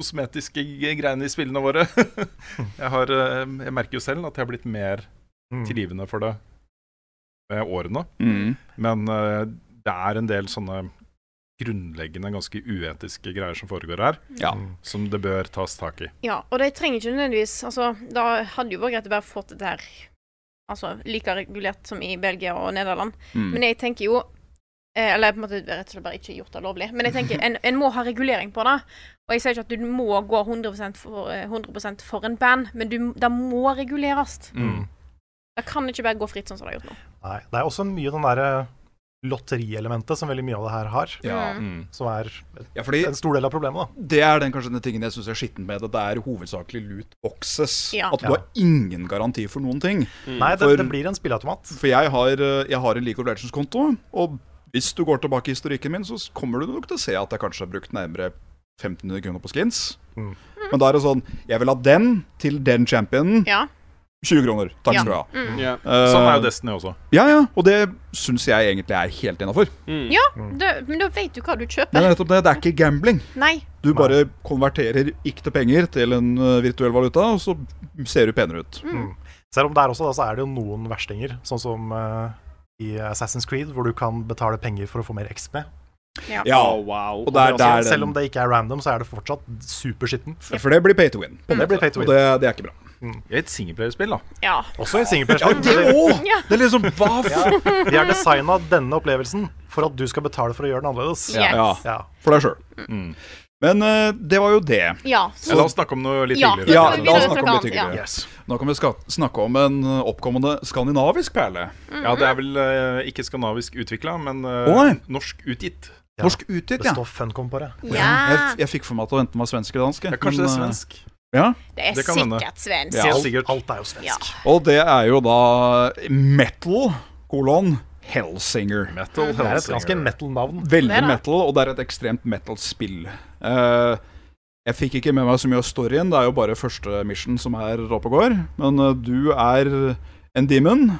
kosmetiske greiene i spillene våre. jeg, har, eh, jeg merker jo selv at jeg har blitt mer Mm. tilgivende for det med årene. Mm. Men eh, det er en del sånne grunnleggende ganske uetiske greier som foregår her, Ja. som det bør tas tak i. Ja, og de trenger ikke nødvendigvis Altså, da hadde jo vært greit å bare fått dette her Altså, like regulert som i Belgia og Nederland. Mm. Men jeg tenker jo eh, Eller på en måte rett og slett bare ikke gjort det lovlig. Men jeg tenker en, en må ha regulering på det. Og jeg sier ikke at du må gå 100 for, eh, 100 for en band, men du, det må reguleres. Mm. Mm. Det kan ikke bare gå fritt sånn som det har gjort nå. Nei, det er også mye den derre lotterielementet som veldig mye av det her har, Ja. som er ja, Eh. fordi en stor del av problemet, Mm. da. det er den kanskje den tingen jeg syns er skitten med det. Det er hovedsakelig loot boxes. Ja. At du Ja. har ingen garanti for noen ting. Mm. Nei, det, For- det blir en spilleautomat. For jeg har, eh, jeg har en League of Legends-konto, og hvis du går tilbake i historikken min, så kommer du nok til å se at jeg kanskje har brukt nærmere 1500 kroner på skins. Mm. Men da er det sånn Jeg vil ha den til den championen. Ja. 20 kroner. Takk Ja. skal du ha. Ja. Eh, Sånn er jo Destiny også. Ja, ja. Og det syns jeg egentlig er helt innafor. ja det, men da vet du hva du Det kjøper. er nettopp det. Det er ikke gambling. Nei. Du bare konverterer ikke til penger til en eh, virtuell valuta, og så ser du penere ut. Selv om der også, da, så er det jo noen verstinger, sånn som eh, i Assassin's Creed, hvor du kan betale penger for å få mer XP. Ja. Å, wow. Og det er Det er også- der den- Selv om det ikke er random, så er det fortsatt superskittent. For det blir pay to win. Det blir Mm. pay to Og win. det, det er ikke bra. I et singelplayerspill, da. Ja. Også i singleplayer. De Åh, Ja. Det er liksom Hva for, de har designa denne opplevelsen for at du skal betale for å gjøre den annerledes. Yes. Ja. Ja. Ja. for deg sjøl? Mm. Men eh, det var jo det. så, Ja, la oss snakke om noe litt Ja. hyggeligere. Ja, vi la oss begynner å snakke om snakke litt annet, hyggeligere. Nå kan vi ska snakke om en eh, oppkommende skandinavisk perle. Ja, det er vel eh, ikke skandinavisk utvikla, men eh, Å, nei. norsk utgitt. Ja. Norsk utgitt, Det ja. står Funcom på det. Jeg, ja. jeg fikk for meg at det enten var svensk eller dansk. Ja, kanskje det er men, eh, svensk. Ja. Det er det kan hende. sikkert svensk. Ja. Helt Alt, sikkert. alt er jo svensk. Ja. Og det er jo da metal kolon Hellsinger. Det Metal er et Hellsinger. ganske metal-navn. Veldig Det da. metal, og det er et ekstremt metal-spill. Eh, jeg fikk ikke med meg så mye av storyen, det er jo bare første mission som er oppe og går. Men eh, du er en demon,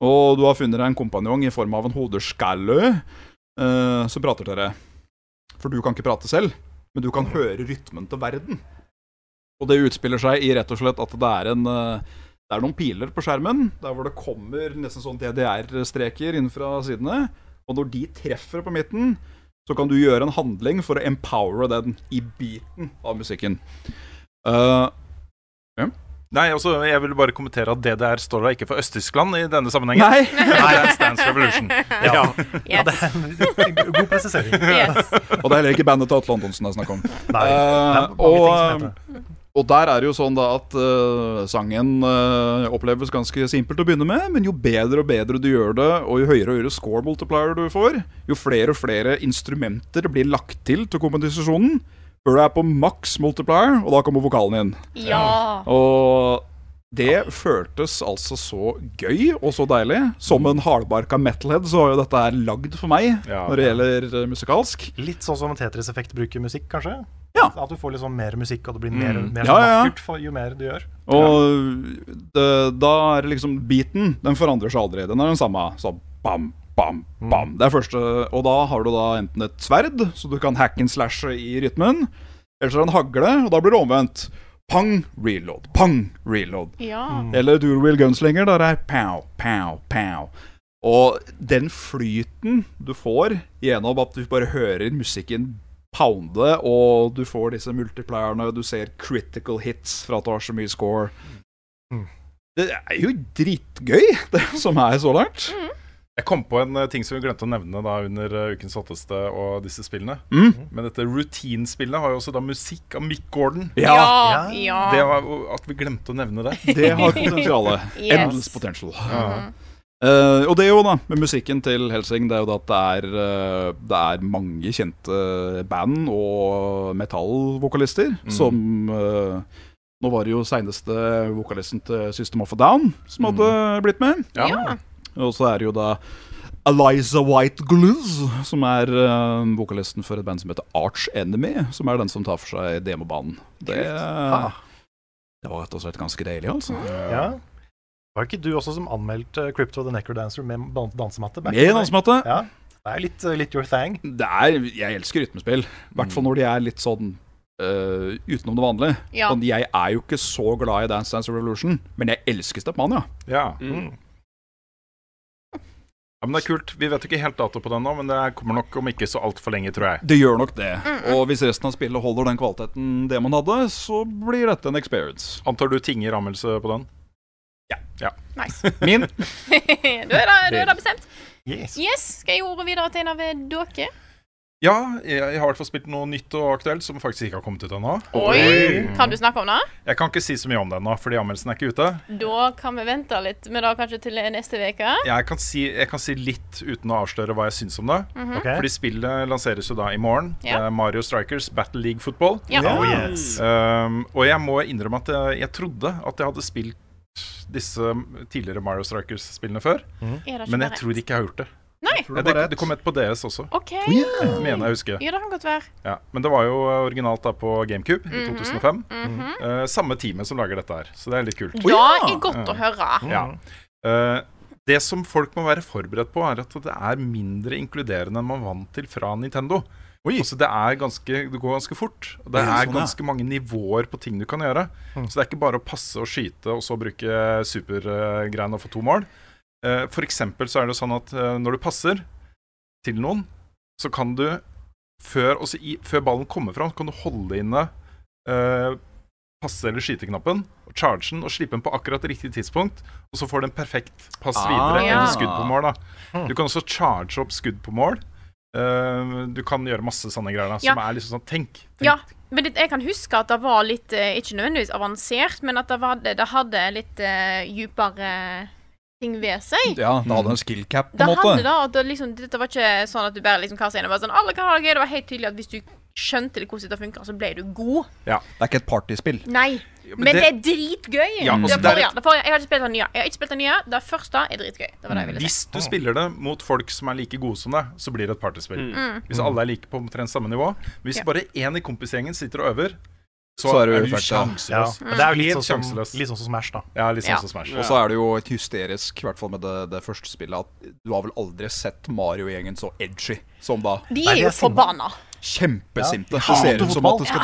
og du har funnet deg en kompanjong i form av en hodeskalle. Eh, så prater dere. For du kan ikke prate selv, men du kan høre rytmen til verden. Og det utspiller seg i rett og slett at det er en eh, det er noen piler på skjermen, der hvor det kommer nesten sånn DDR-streker inn fra sidene. Og når de treffer på midten, så kan du gjøre en handling for å empowere den i biten av musikken. Eh, Nei, også, jeg ville bare kommentere at DDR står da ikke for Øst-Tyskland i denne sammenhengen. nei! Nei, det stands Revolution. Ja. Yes. det er en god presisering. Yes. Og det er heller ikke bandet til Atle Antonsen det er snakk om. Nei, det er mange Eh, ting som heter og, eh, det. og der er det jo sånn da at eh, sangen eh, oppleves ganske simpelt å begynne med, men jo bedre og bedre du gjør det, og jo høyere og høyere score multiplier du får, jo flere og flere instrumenter blir lagt til til komposisjonen, før du er på maks multiplier, og da kommer vokalen inn. Ja. Og det føltes altså så gøy og så deilig. Som en hardbarka metalhead så var jo dette her lagd for meg Ja. når det gjelder eh, musikalsk. Litt sånn som Tetris-effekt bruker musikk, kanskje? Ja, Ja. At du får liksom mer musikk, og det blir mer, Mm. mer Ja, ja, ja. vakkert for, jo mer du gjør. Og det, da er det liksom beaten. Den forandrer seg aldri. Den er den samme. Så bam, bam, bam. Det er første Og da har du da enten et sverd, så du kan hack and slashe i rytmen. Eller så er det en hagle, og da blir det omvendt. Pang, reload. Pang, reload. Ja. Eller dual wheel gunslinger, der er pow, pow, pow. Og den flyten du får gjennom at du bare hører musikken pounde, og du får disse multiplierne, du ser critical hits for at du har så mye score Det er jo dritgøy, det som er så langt. Jeg kom på en eh, ting som vi glemte å nevne da under eh, Ukens hotteste og disse spillene. Mm. Men dette routine-spillet har jo også da musikk av Mick Gordon. Ja, Ja. ja. Det var, at vi glemte å nevne det. Det har potensialet. Yes. Endless potential. Eh, og det jo, da, med musikken til Helsing, det er jo da at det er, eh, det er mange kjente band og metallvokalister Mm. som eh, Nå var det jo seineste vokalisten til System of a Down som hadde blitt med. Mm. Ja. Og så er det jo da Eliza White Gluz, som er eh, vokalisten for et band som heter Arch Enemy, som er den som tar for seg demobanen. Det, eh, det var rett og slett ganske deilig, altså. Ja. Var det ikke du også som anmeldte Crypto the Necrodancer med dan- dansematte? back Med in the day? dansematte. Ja. Det er litt, litt your thing. Det er, jeg elsker rytmespill. I hvert fall når de er litt sånn øh, utenom det vanlige. Ja. Og jeg er jo ikke så glad i Dance Dance Revolution, men jeg elsker Stepmania. Ja. Mm. ja, men det er kult. Vi vet jo ikke helt dato på den nå, men det kommer nok om ikke så altfor lenge, tror jeg. Det gjør nok det. Mm, Og hvis resten av spillet holder den kvaliteten det man hadde, så blir dette en experience. Antar du tinger anmeldelse på den? Ja. Nice. Min. du er da, du er da bestemt. Yes. Yes, skal jeg gi ordet videre til en av eh, dere? Ja, jeg, jeg har i hvert fall spilt noe nytt og aktuelt som faktisk ikke har kommet ut ennå. Oi! Kan du snakke om det? Jeg kan ikke si så mye om det ennå, fordi anmeldelsen er ikke ute. Da kan vi vente litt med det kanskje til neste uke. Jeg kan, si, jeg kan si litt uten å avsløre hva jeg syns om det. Ok. Fordi spillet lanseres jo da i morgen. Ja. Det er Mario Strikers Battle League Football. Ja. Oh, yes. Um, og jeg må innrømme at jeg, jeg trodde at jeg hadde spilt disse tidligere Mario Strikers-spillene før. Er det ikke Men jeg bare- tror ikke jeg har gjort det. Nei. Ja, det, det kom et på DS også, OK. mener jeg å huske. Ja, det kan godt være. Ja. Men det var jo originalt da på GameCube Mhm. i 2005. Uh, samme teamet som lager dette her, så det er litt kult. Da er godt å Mhm. Mm. høre. Ja. Eh, det som folk må være forberedt på, er at det er mindre inkluderende enn man er vant til fra Nintendo. Altså, det, er ganske, det går ganske fort. Og det Det er er sånn, ja. Mm. ganske mange nivåer på ting du kan gjøre. Så det er ikke bare å passe og skyte og så bruke supergreiene og få to mål. Eh, For eksempel så er det sånn at eh, når du passer til noen, så kan du før, også i, før ballen kommer fram, kan du holde inne eh, passe- eller skyteknappen, og charge den, og slippe den på akkurat riktig tidspunkt, og så får du en perfekt pass Ah, videre Ja. eller skudd på mål. da. Du kan også charge opp skudd på mål. Eh, du kan gjøre masse sånne greier da, som Ja. er liksom sånn Tenk! tenk. Ja, men det, jeg kan huske at det var litt eh, Ikke nødvendigvis avansert, men at det, var, det det hadde litt uh, dypere ting ved seg. Ja, det hadde en skill cap, på Det en hadde måte. da, at det, liksom, dette var ikke sånn at du bare liksom kastet inn og bare sånn Alle kan ha det gøy. Det var helt tydelig at hvis du skjønte litt hvordan dette funka, så ble du god. Det er ikke et partyspill. Nei. men Men, det- det, er dritgøy. Ja, altså, Mm. det det er forrige, et- det forrige, jeg har ikke spilt den nye. Jeg har ikke spilt den nye. Det første er dritgøy. Det var det jeg ville si. Hvis du spiller det mot folk som er like gode som deg, så blir det et partyspill. Mm. Hvis alle er like på omtrent samme nivå. Mm. Hvis Ja. bare én i kompisgjengen sitter og øver, så, Så er er du du fucked, Ja. ja. sjanseløs. Det er jo litt Helt sånn som, sjanseløs. litt sånn som Smash, da. Ja, litt sånn Ja. som Smash. Og så er det jo et hysterisk, i hvert fall med det, det første spillet, at du har vel aldri sett Mario-gjengen så edgy som da. De Nei, er det er jo sinne. forbanna. Kjempesinte. Ja. Det ser ut som at Fotball. de skal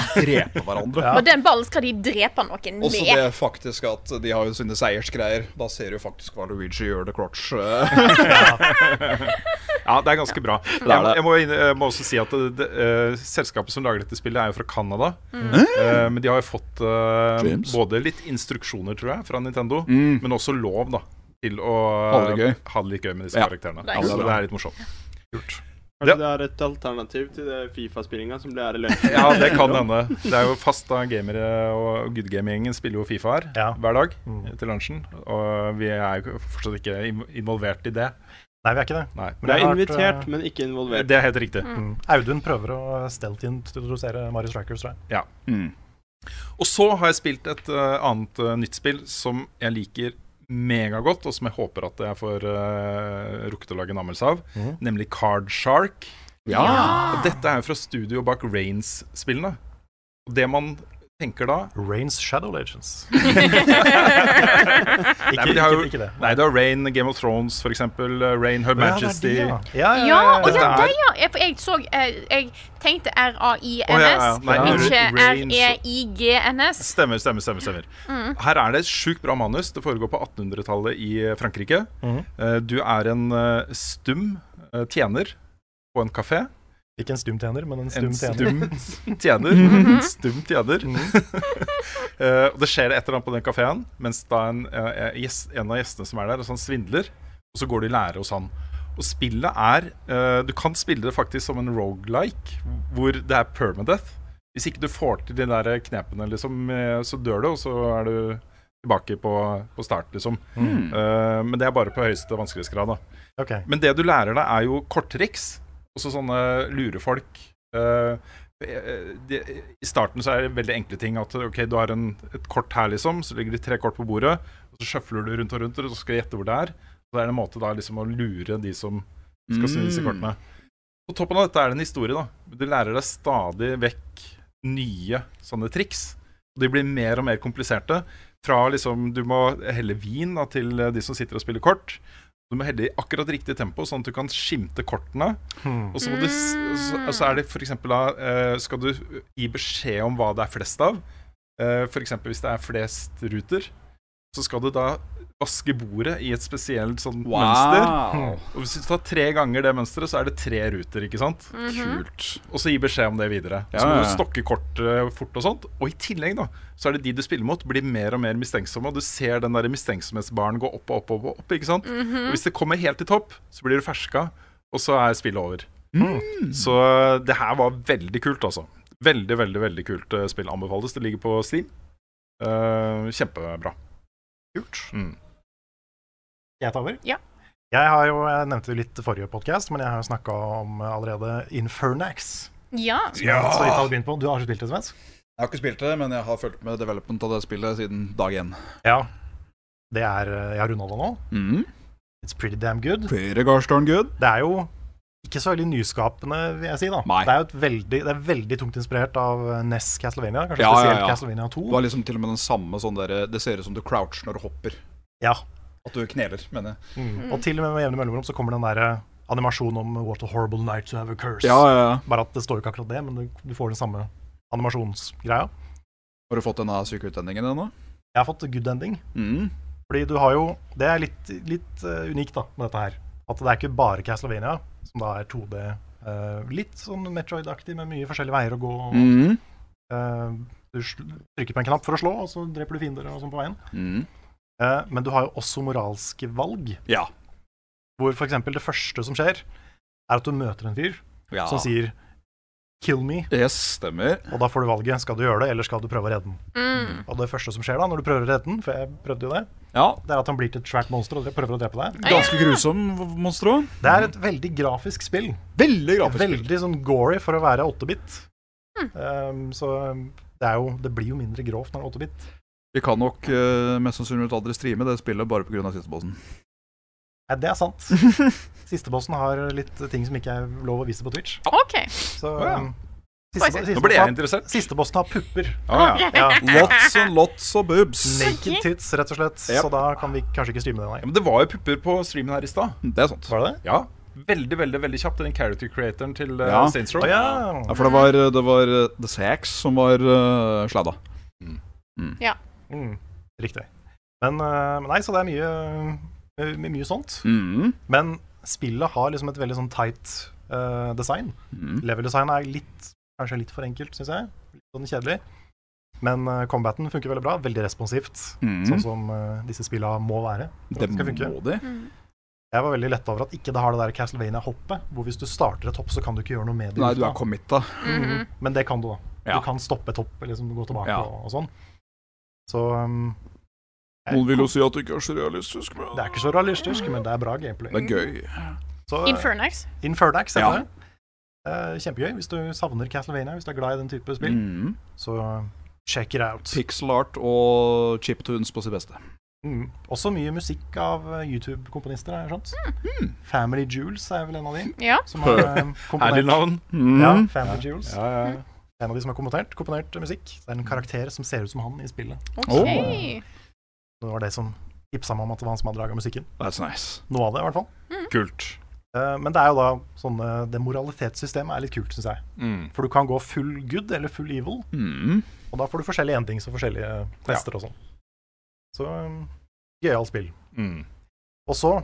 drepe hverandre. Ja. Og den ballen skal de drepe noen Også med. det faktisk at de har jo sine seiersgreier. Da ser du faktisk hva Luigi gjør det crotch. eh, Ja, det er ganske bra. Jeg, er må- det. jeg, må, inn- jeg må også si at det, det, eh, selskapet som lager dette spillet, er jo fra Canada. Eh, men de har jo fått eh, James. Mm. både litt instruksjoner, tror jeg, fra Nintendo, men også lov da til å Ha det gøy. ha det litt gøy med disse Ja. karakterene. Nice. Så det er litt morsomt. Kanskje Altså, det er et alternativ til det Fifa-spillinga som ble her i lunsjen? Ja, det kan hende. Det er jo fast da gamere og good game-gjengen spiller jo Fifa her Ja. hver dag til lunsjen. Og vi er jo fortsatt ikke im- involvert i det. Nei, vi er ikke det. Nei. Det er har vært, invitert, eh, men ikke involvert. Det er helt riktig. mm. Audun prøver å stealth-introdusere Mario Strikers, tror jeg. Hmm. Og så har jeg spilt et eh, annet eh, nytt spill som jeg liker megagodt, og som jeg håper at jeg får uh, rukket å lage en anmeldelse av, Mhm. nemlig Card Shark. Ja. Og dette er jo fra studio bak Rains-spillene. Og det man tenker da Rains Shadow Legends. Nei, men de har jo- ikke- ikke det. Nei, det er Rain, Game of Thrones f.eks. Rain, Å, ja, Her det er Majesty. de, ja. Ja, ja, Ja, og ja, Dette er- det, ja. Jeg, for jeg så eh, Jeg tenkte Å, ja, ja. R-A-I-N-S, Nei, ikke E Reigns- R-E-I-G-N-S. Stemmer, stemmer, stemmer. stemmer. Mm. Her er det et sjukt bra manus. Det foregår på 1800-tallet i Frankrike. Eh, Du er en eh, stum eh, tjener på en kafé. Ikke en stum tjener, men en stum En tjener. Mhm. stum tjener. En stum tjener. Eh, og det skjer et eller annet på den kafeen, mens da en, eh, gjest, en av gjestene som er der, altså han svindler, og så går de i lære hos han. Og spillet er eh, Du kan spille det faktisk som en rogelike, hvor det er permadeath. Hvis ikke du får til de der knepene, liksom, eh, så dør du, og så er du tilbake på, på start, liksom. Mm. Eh, men det er bare på høyeste vanskelighetsgrad, da. Ok. Men det du lærer deg, er jo korttriks. Også sånne lurefolk. Eh, eh, de, I starten så er det veldig enkle ting. At ok, du har en, et kort her, liksom. Så ligger det tre kort på bordet. Og så sjøfler du rundt og rundt, og så skal du gjette hvor det er. Så det er en måte da liksom å lure de som skal snu disse Mm. kortene. På toppen av dette er det en historie, da. Du lærer deg stadig vekk nye sånne triks. Og de blir mer og mer kompliserte. Fra liksom du må helle vin da, til eh, de som sitter og spiller kort. Du må helle i akkurat riktig tempo, sånn at du kan skimte kortene. Hmm. Og så, må du, s- så, så er det for eksempel da eh, Skal du gi beskjed om hva det er flest av? Eh, for eksempel hvis det er flest ruter, så skal du da vaske bordet i et spesielt sånn Wow. mønster. Og hvis du tar tre ganger det mønsteret, så er det tre ruter, ikke sant? Kult. Og så gi beskjed om det videre. Og Ja, så må ja, du ja. stokke kortet fort og sånt. Og i tillegg, da, så er det de du spiller mot, blir mer og mer mistenksomme. Og du ser den der mistenksomhetsbaren gå opp og opp og opp. opp ikke sant? Og hvis det kommer helt til topp, så blir du ferska, og så er spillet over. Så eh, det her var veldig kult, altså. Veldig, veldig veldig kult eh, spill. Anbefales. Det ligger på Steam. Eh, kjempebra. Kult. Mm. Jeg tar over? Ja. Jeg har jo, jeg nevnte det litt i forrige podkast, men jeg har jo snakka om eh, allerede Infernax. Ja. Som jeg så vidt hadde begynt på. Du har ikke spilt det, Svensk? Jeg har ikke spilt det, men jeg har fulgt med development av det spillet siden dag én. Ja. Det er, eh, jeg har runda det nå. Mm. It's pretty damn good. Pretty gosh darn good. Det er jo ikke så veldig nyskapende, vil jeg si. da. Nei. Det er jo et veldig, det er veldig tungt inspirert av eh, NES Castlevania, kanskje Ja, ja, spesielt ja. Castlevania 2. Det var liksom til og med den samme sånn derre Det ser ut som du croucher når du hopper. Ja. At du kneler, mener jeg. Mm. Og til og med med jevne mellomrom så kommer den der eh, animasjonen om What a horrible night to have a curse. ja, ja. Bare at det står jo ikke akkurat det, men du- du får den samme animasjonsgreia. Har du fått denne syke utlendingen ennå? Jeg har fått good ending. Mm. Fordi du har jo Det er litt, litt eh, unikt da, med dette her. At det er ikke bare Castlevania, som da er 2D. eh, litt sånn Metroid-aktig, med mye forskjellige veier å gå. og Mm. Eh, du sl- trykker på en knapp for å slå, og så dreper du fiender og sånn på veien. Mm. Eh, men du har jo også moralske valg, Ja. hvor f.eks. det første som skjer, er at du møter en fyr ja. som sier 'kill me', Yes, stemmer. og da får du valget. Skal du gjøre det, eller skal du prøve å redde den? Mm. Og det første som skjer da, når du prøver å redde den, for jeg prøvde jo det, Ja. det er at han blir til et svært monster og dre- prøver å drepe deg. Ganske grusom, monstro. Det er et veldig grafisk spill. Veldig grafisk. spill. Veldig sånn gory for å være 8-bit. Eh, så det, er jo, det blir jo mindre grovt når det er 8-bit. Vi kan nok eh, mest sannsynlig aldri streame det spillet bare pga. sistebossen. Nei, det er sant. Sistebossen har litt ting som ikke er lov å vise på Twitch. OK. Så ja. um, Oi, siste, se. Nå ble jeg sistebossen, har, interessert. sistebossen har pupper. Ah, ja. Ja. Lots and lots of boobs. Naked tits, rett og slett. Yep. Så da kan vi kanskje ikke streame Ja, det, nei. men det var jo pupper på streamen her i stad. Det er sant. Var det det? Ja. Veldig, veldig veldig kjapt. Den character creatoren til uh, Ja. Saints Å Row. ja. Ja, for det var, det var eh, The Sax som var uh, sladda. Mm, riktig. Men uh, nei, så det er mye, uh, my- mye sånt. Mm. Men spillet har liksom et veldig sånn tight uh, design. Mm. Level-design er litt, kanskje litt for enkelt, syns jeg. Litt sånn kjedelig. Men uh, combaten funker veldig bra. Veldig responsivt, Mm. sånn som uh, disse spilla må være. for at Det skal funke. må Mm. de. Jeg var veldig letta over at ikke det har det der Castlevania-hoppet, hvor hvis du starter et hopp, så kan du ikke gjøre noe med det. Nei, ut du er da. committa. Mhm. Men det kan du, da. Ja. Du kan stoppe et hopp, eller liksom gå tilbake Ja. og, og sånn. Så um, jeg- Noen vil jo si at det ikke er så realistisk, men Det er ikke så realistisk, men det er bra gameplay. det er gøy. Så, eh, Infernax. Infernax, Ja. heter det. Eh, kjempegøy hvis du savner Castlevania, hvis du er glad i den type spill. Mm. Så uh, check it out. Pixel art og chiptunes på sitt beste. Mm. Også mye musikk av uh, YouTube-komponister, har jeg skjønt. Family Jewels Mm. er vel en av de Ja. som har um, Herlig komponert. navn. Mm. Ja, Family Jewels. Ja, ja. En av de som har komponert, komponert musikk. Det er en karakter som ser ut som han i spillet. Ok. Det var det som tipsa meg om at det var han som hadde laga musikken. That's nice. Noe av det, i hvert fall. Kult. Eh, Men det er jo da sånne Det moralitetssystemet er litt kult, syns jeg. Mm. For du kan gå full good eller full evil, Mm. og da får du forskjellige endings og forskjellige tester og sånn. Så um, gøyalt spill. Mm. Og så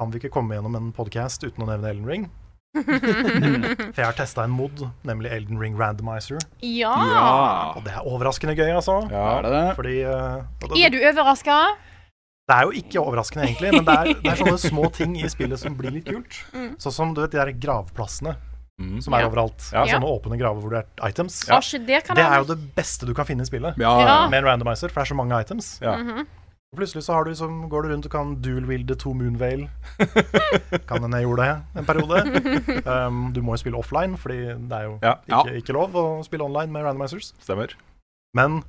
kan vi ikke komme gjennom en podkast uten å nevne Elden Ring. For jeg har testa en mod, nemlig Elden Ring Randomizer, ja. Ja. og det er overraskende gøy, altså. Er det det? Fordi eh, det, Er du overraska? det er jo ikke overraskende, egentlig, men det er, det er sånne små ting i spillet som blir litt kult. Sånn som du vet, de der gravplassene Mm. som er Ja. overalt. Ja. Sånne åpne graver hvor det er items. Ja. Der kan Det er jeg jo det beste du kan finne i spillet. Ja, Ja. Mm-hmm. Med en randomizer, for det er så mange items. Ja. Og Plutselig så har du liksom, går du rundt og kan dual-wilde to moonvale. kan hende jeg gjorde det en periode. Um, du må jo spille offline, fordi det er jo Ja, ja. ikke, ikke lov å spille online med randomizers. Stemmer. Men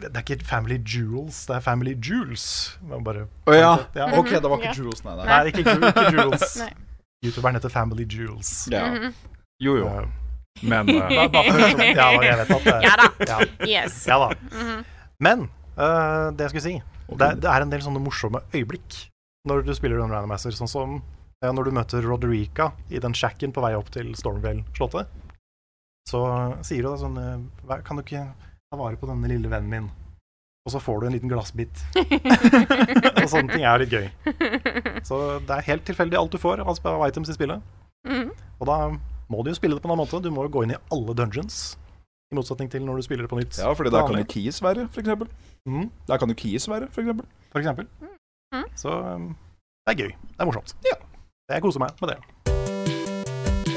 det er ikke Family Jewels, det er Family Jewels. Det var Bare, Å ja. Ja. Ok, det var ikke Ja. Jules, nei. nei. Nei, ikke, Ju- ikke Jewels. Nei. Youtuberen heter Family Jewels. Ja. Mhm. Jo, jo. Uh, Men eh, bare- bare hør sånn. Ja, jeg vet at det Ja da. Ja. Yes. Ja da. Mhm. Men eh, det jeg skulle si det, det er en del sånne morsomme øyeblikk når du spiller den randomizer, sånn som eh, når du møter Roderica i den shacken på vei opp til Stormvale-slottet. Så sier du da sånn eh, "Hva- Kan du ikke ta vare på denne lille vennen min? Og så får du en liten glassbit. og sånne ting er litt gøy. Så det er helt tilfeldig alt du får av sp- av items i spillet. Mhm. Og da må du jo spille det på en annen måte. Du må jo gå inn i alle dungeons, i motsetning til når du spiller det på nytt. Ja, fordi der kan jo Vanlig. Kies være, for eksempel. Mhm. Der kan jo Kies være, for eksempel. for eksempel. Mm. Så um, det er gøy. Det er morsomt. Jeg koser meg med det.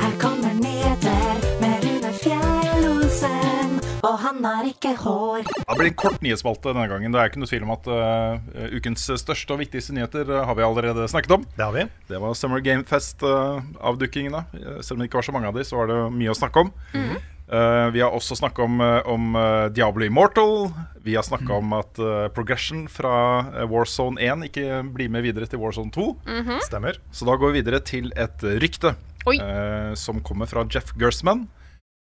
Her kommer nyheter med Rune Fjellosen, og han har ikke hår. det blir en kort nyhetsspalte denne gangen. Det er ikke noe tvil om at eh, ukens største og viktigste nyheter eh, har vi allerede snakket om. Det har vi. Det var Summer Game eh, Fest-avdukkingene. Eh, Selv om det ikke var så mange av de, så var det mye å snakke om. Eh, vi har også snakka om, eh, om eh, Diablo Immortal. Vi har snakka om at eh, progression fra eh, Warzone 1 ikke blir med videre til Warzone 2. Stemmer. Så da går vi videre til et eh, rykte Oi. eh, som kommer fra Jeff Gersman,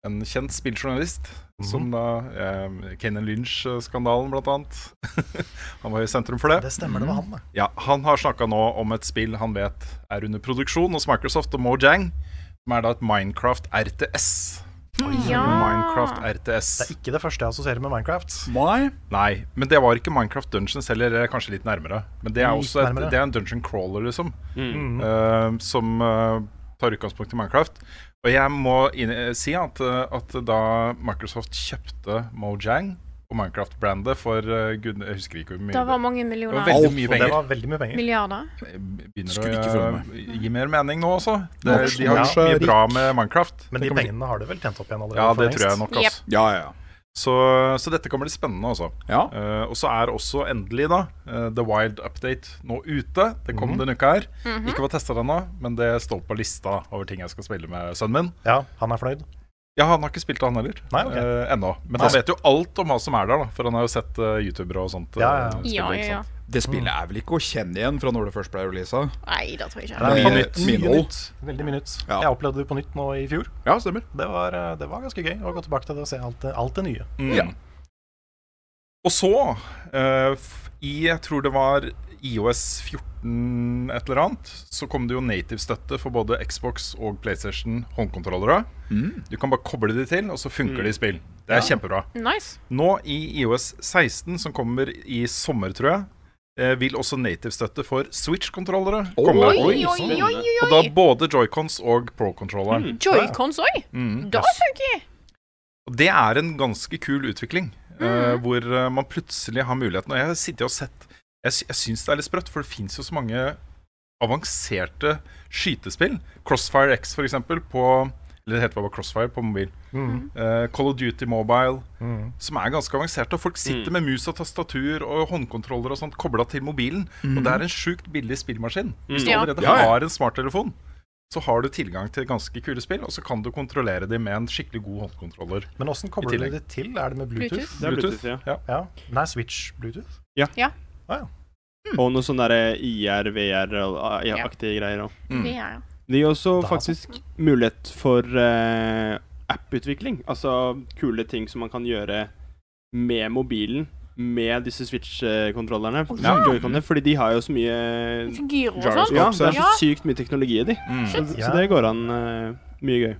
en kjent spilljournalist. Som da eh, Kenan Lynch-skandalen, blant annet. Han var i sentrum for det. Det stemmer, det var han, det. Ja, han har snakka nå om et spill han vet er under produksjon hos Microsoft og Mojang, som er da et Minecraft RTS. Ja. Minecraft Det er RTS. ikke det første jeg assosierer med Minecraft. Why? Nei, men det var ikke Minecraft Dungeons heller, eller kanskje litt nærmere. Men det er Litt også et, nærmere. Mm. det er en dungeon crawler, liksom, eh, som eh, tar utgangspunkt i Minecraft. Og jeg må inn, eh, si at, eh, at da Microsoft kjøpte Mojang og Minecraft-brandet for eh, gud, Jeg husker ikke hvor mye Det var mange det var millioner. veldig Alt, mye Og det penger. var veldig mye penger. Milliarder. begynner Skulle ikke følge å eh, gi mer mening nå også. Det, Nå forstår de har gjort jeg. mye bra med Minecraft. Men Det de kommer til- pengene har du vel tjent opp igjen allerede? Ja, for det lengst. tror jeg nok. Jep. Altså. Ja, ja, ja. Så, så dette kan bli spennende, altså. Ja. Eh, og så er også endelig da eh, The Wild Update nå ute. Det kom Mhm. denne uka her. Ikke fått testa det ennå, men det står på lista over ting jeg skal spille med sønnen min. Ja, han er fornøyd. Ja, han har ikke spilt det, han heller. Nei, ok. eh, ennå. Men han Nei. vet jo alt om hva som er der, da. For han har jo sett eh, youtubere og sånt. eh, Ja, ja. spille, Ja, ikke ja, ja. sant? Det spillet er vel ikke å kjenne igjen fra når det først ble releasa? Nei, det tror jeg Det ikke. er Mye mye nytt. Mye nytt. Veldig mye nytt. Ja. Jeg opplevde det på nytt nå i fjor. Ja, stemmer. Det var, eh, det var ganske gøy å gå tilbake til det og se alt, det- alt det nye. Mm. Ja. Og så, eh, f- i jeg tror det var IOS 14 et eller annet, så kom det jo native-støtte for både Xbox og PlayStation håndkontrollere. Mm. Du kan bare koble de til, og så funker de i spill. Det er kjempebra. Nice. Nå i IOS 16, som kommer i sommer, tror jeg, eh, vil også native-støtte for Switch-kontrollere komme. Oi, oi, oi, oi, sånn. Og oi. da både joycons og pro-controlleren. Joycons òg? Mm, Det yes. funker! Og det er en ganske kul utvikling, Mm. eh, hvor eh, man plutselig har muligheten. Og jeg har sittet og sett Jeg, sy- jeg syns det er litt sprøtt, for det fins jo så mange avanserte skytespill. Crossfire X, for eksempel, på Eller det heter bare Crossfire på mobil. Mm. Eh, Call of Duty Mobile, som er ganske avanserte. Og folk Mm. sitter med mus og tastatur og håndkontroller og sånt kobla til mobilen. Og det er en sjukt billig spillmaskin. Hvis du Ja. allerede Mm. Ja, ja. har en smarttelefon, så har du tilgang til ganske kule spill, og så kan du kontrollere dem med en skikkelig god håndkontroller. Men åssen kobler I du tillegg. det til? Er det med Bluetooth? Bluetooth. Det er Bluetooth, ja. Ja. Nei, Switch Bluetooth. Og noe sånn derre IR, VR-aktige greier òg. Mm. Det er jo Det gir også Da. faktisk mulighet for eh, app-utvikling. Altså kule ting som man kan gjøre med mobilen. Med disse Switch-kontrollerne. ja. Joy-Conene, Fordi de har jo så mye Figurer og sånn. Ja, det er så Ja. sykt mye teknologi i de. Så, Mm. så det går an eh, mye gøy.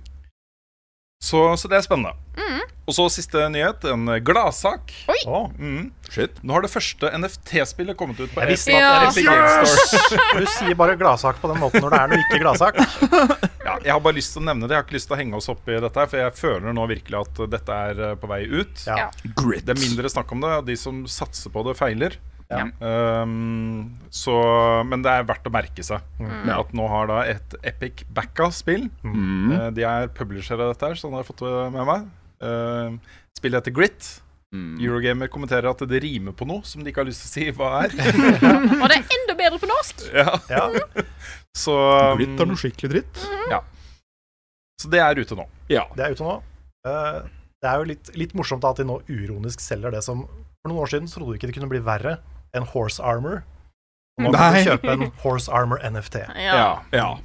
Så, så det er spennende. Og så siste nyhet, en gladsak. Å, Mm. Nå har det første NFT-spillet kommet ut på Jeg visste Epic- at Epic Games Store. Du sier bare gladsak på den måten når det er noe ikke gladsak. Ja, jeg har bare lyst til å nevne det. Jeg har ikke lyst til å henge oss opp i dette, her, for jeg føler nå virkelig at dette er eh, på vei ut. Ja. Det er mindre snakk om det, og de som satser på det, feiler. Ja. Um, så, men det er verdt å merke seg at nå har da et Epic Backa-spill. Eh, de er publisher av dette, her, så det har jeg fått med meg. Eh, spillet heter Grit. Eurogamer kommenterer at det rimer på noe som de ikke har lyst til å si hva er. Og det er enda bedre på norsk! ja. Ja. Så, um, Glitt er noe skikkelig dritt. så det er ute nå. Det er ute nå. Eh, Det er jo litt, litt morsomt da at de nå uronisk selger det som For noen år siden trodde du ikke det kunne bli verre enn horse armor. Og nå kan Nei. du kjøpe en horse armor NFT. Ja. ja.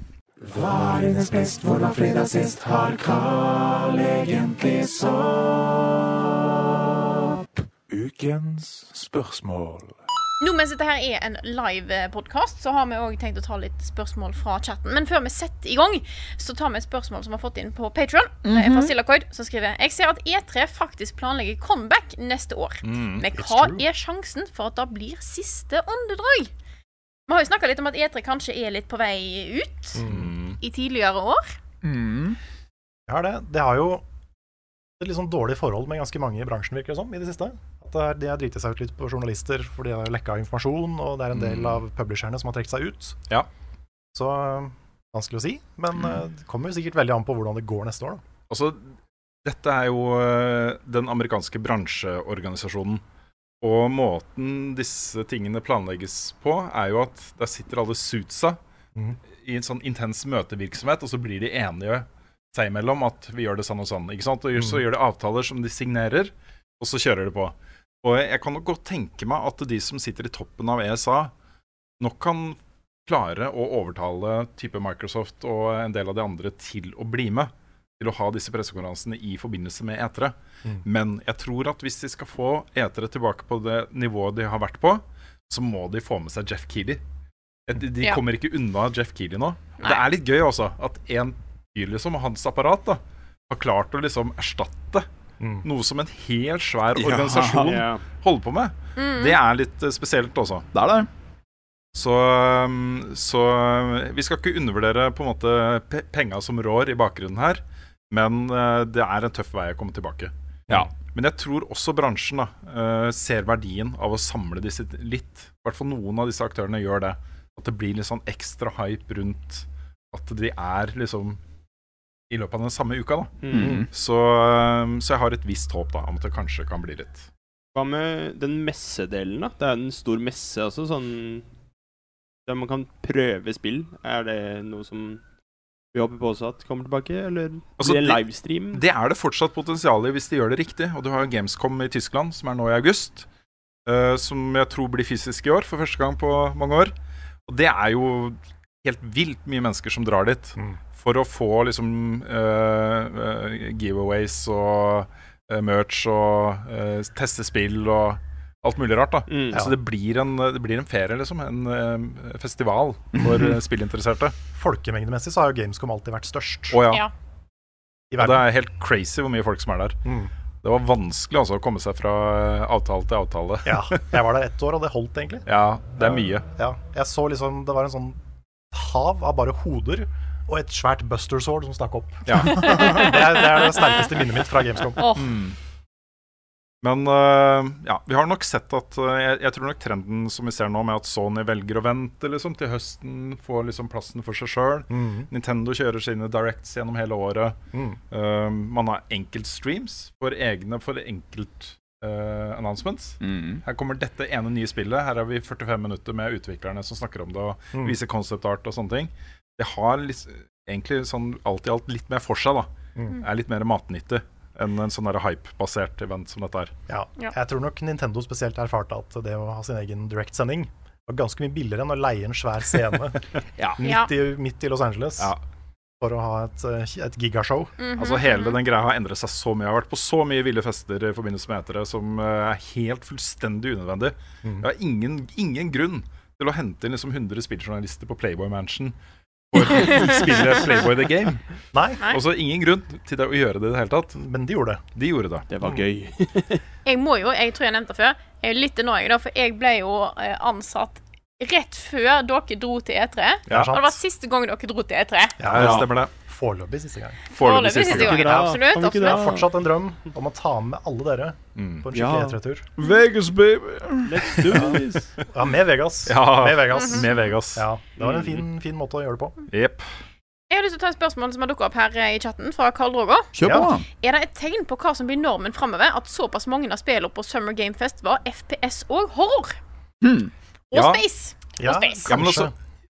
Ukens spørsmål. Nå mens dette her er en live podkast, så har vi òg tenkt å ta litt spørsmål fra chatten. Men før vi setter i gang, så tar vi et spørsmål som vi har fått inn på Patron. Det Mhm. er fra Sillacoid, som skriver Jeg ser at E3 faktisk planlegger comeback neste år. Mm, Men hva er sjansen for at det blir siste åndedrag? Vi har jo snakka litt om at E3 kanskje er litt på vei ut Mm. Mm. i tidligere år. Mm. Jeg har det. Det har jo et litt sånn dårlig forhold med ganske mange i bransjen, virker det som, i det siste. At det er, de har driti seg ut litt på journalister fordi de har lekka informasjon, og det er en del av publisherne som har trukket seg ut. Mm. Ja. Mm. Så øh, vanskelig å si. Men øh, det kommer jo sikkert veldig an på hvordan det går neste år, da. Altså, dette er jo eh, den amerikanske bransjeorganisasjonen. Og måten disse tingene planlegges på, er jo at der sitter alle suitsa Mhm. i en sånn intens møtevirksomhet, og så blir de enige seg imellom at vi gjør det sånn og sånn. ikke sant? Og så gjør de avtaler som de signerer, og så kjører de på. Og jeg kan nok godt tenke meg at de som sitter i toppen av ESA, nok kan klare å overtale type Microsoft og en del av de andre til å bli med. Til å ha disse pressekonferansene i forbindelse med etere. Men jeg tror at hvis de skal få etere tilbake på det nivået de har vært på, så må de få med seg Jeff Keeley. De, de Ja. kommer ikke unna Jeff Keeley nå. Og Det Nei. er litt gøy også at en fyr liksom, og hans apparat da, har klart å liksom erstatte Mm. noe som en hel svær organisasjon Ja. holder på med. Det er litt eh, spesielt også. Det er det. Så, um, så um, vi skal ikke undervurdere på en måte pe- penga som rår i bakgrunnen her, men eh, det er en tøff vei å komme tilbake. Ja. Men jeg tror også bransjen da, eh, ser verdien av å samle disse litt. I hvert fall noen av disse aktørene gjør det. At det blir litt sånn ekstra hype rundt at de er liksom i løpet av den samme uka. da. Mm. Så, um, så jeg har et visst håp da, om at det kanskje kan bli litt. Hva med den messedelen, da? Det er en stor messe, altså. Sånn der man kan prøve spill. Er det noe som vi håper på også at kommer tilbake? Eller Altså, blir det det- livestream? Det er det fortsatt potensial i hvis de gjør det riktig. Og du har jo Gamescom i Tyskland, som er nå i august. eh, som jeg tror blir fysisk i år, for første gang på mange år. Og det er jo helt vilt mye mennesker som drar dit Mm. for å få liksom eh, eh, giveaways og eh, merch og eh, teste spill og alt mulig rart, da. Mm. Så det blir, en, det blir en ferie, liksom. En eh, festival for eh, spillinteresserte. Folkemengdemessig så har jo Gamescom alltid vært størst Å ja. Ja. i Og det verden. er helt crazy hvor mye folk som er der. Mm. Det var vanskelig altså å komme seg fra eh, avtale til avtale. Ja. Jeg var der ett år, og det holdt, egentlig. Ja, det er mye. Ja. Jeg så liksom Det var en sånn hav av bare hoder. Og et svært buster sword som stakk opp. Ja. Mm. Det er, det er det sterkeste minnet mitt fra Gamescom. Åh, Men eh, ja, vi har nok sett at eh, jeg, jeg tror nok trenden som vi ser nå, med at Sony velger å vente liksom, til høsten, får liksom plassen for seg sjøl. Mm. Nintendo kjører sine directs gjennom hele året. Mm. Eh, man har enkeltstreams for egne for enkelt eh, announcements. Her kommer dette ene nye spillet. Her har vi 45 minutter med utviklerne som snakker om det og Mm. viser concept art og sånne ting. Det har litt, egentlig sånn alt i alt litt mer for seg, da. Mm. Er litt mer matnyttig enn en sånn der hype-basert event som dette er. Ja. Ja. Jeg tror nok Nintendo spesielt erfarte at det å ha sin egen direktsending var ganske mye billigere enn å leie en svær scene Ja. Ja. midt, i, midt i Los Angeles. Ja. for å ha et, eh, et gigashow. Mm. Altså Hele den greia har endret seg så mye. Jeg har vært på så mye ville fester i forbindelse med etere som eh, er helt fullstendig unødvendig. Mm. Jeg har ingen, ingen grunn til å hente inn liksom 100 spilljournalister på Playboy Mansion for å spille Playboy The Game. Nei. Nei. Altså ingen grunn til det å gjøre det i det hele tatt. Men de gjorde det. De gjorde det. Det var gøy. Jeg må jo, jeg tror jeg nevnte det før, jeg er jo litt annoying da, for jeg ble jo eh, ansatt rett før dere dro til E E3. Ja. Og det var siste gang dere dro til E3. Ja, det stemmer det. Foreløpig siste gang. Foreløpig siste gang. gang. Absolutt. Kan vi ikke Jeg dra? har absolutt. fortsatt en drøm om å ta med alle dere Mm. på en Ja. skikkelig E3-tur. Vegas, baby! Let's do this. Ja, med Vegas. Ja, Mm. Med Vegas. Mhm. Med Vegas. Ja, det var en fin, fin måte å gjøre det på. Mm. Jepp. Jeg har lyst til å ta et spørsmål som har dukket opp her eh, i chatten, fra Karl Roger. Kjør på, Ja. da. Er det et tegn på hva som blir normen framover, at såpass mange av spillene på Summer Game Fest var FPS og horror? Og Ja. space! Ja, space. Ja, men kanskje. også,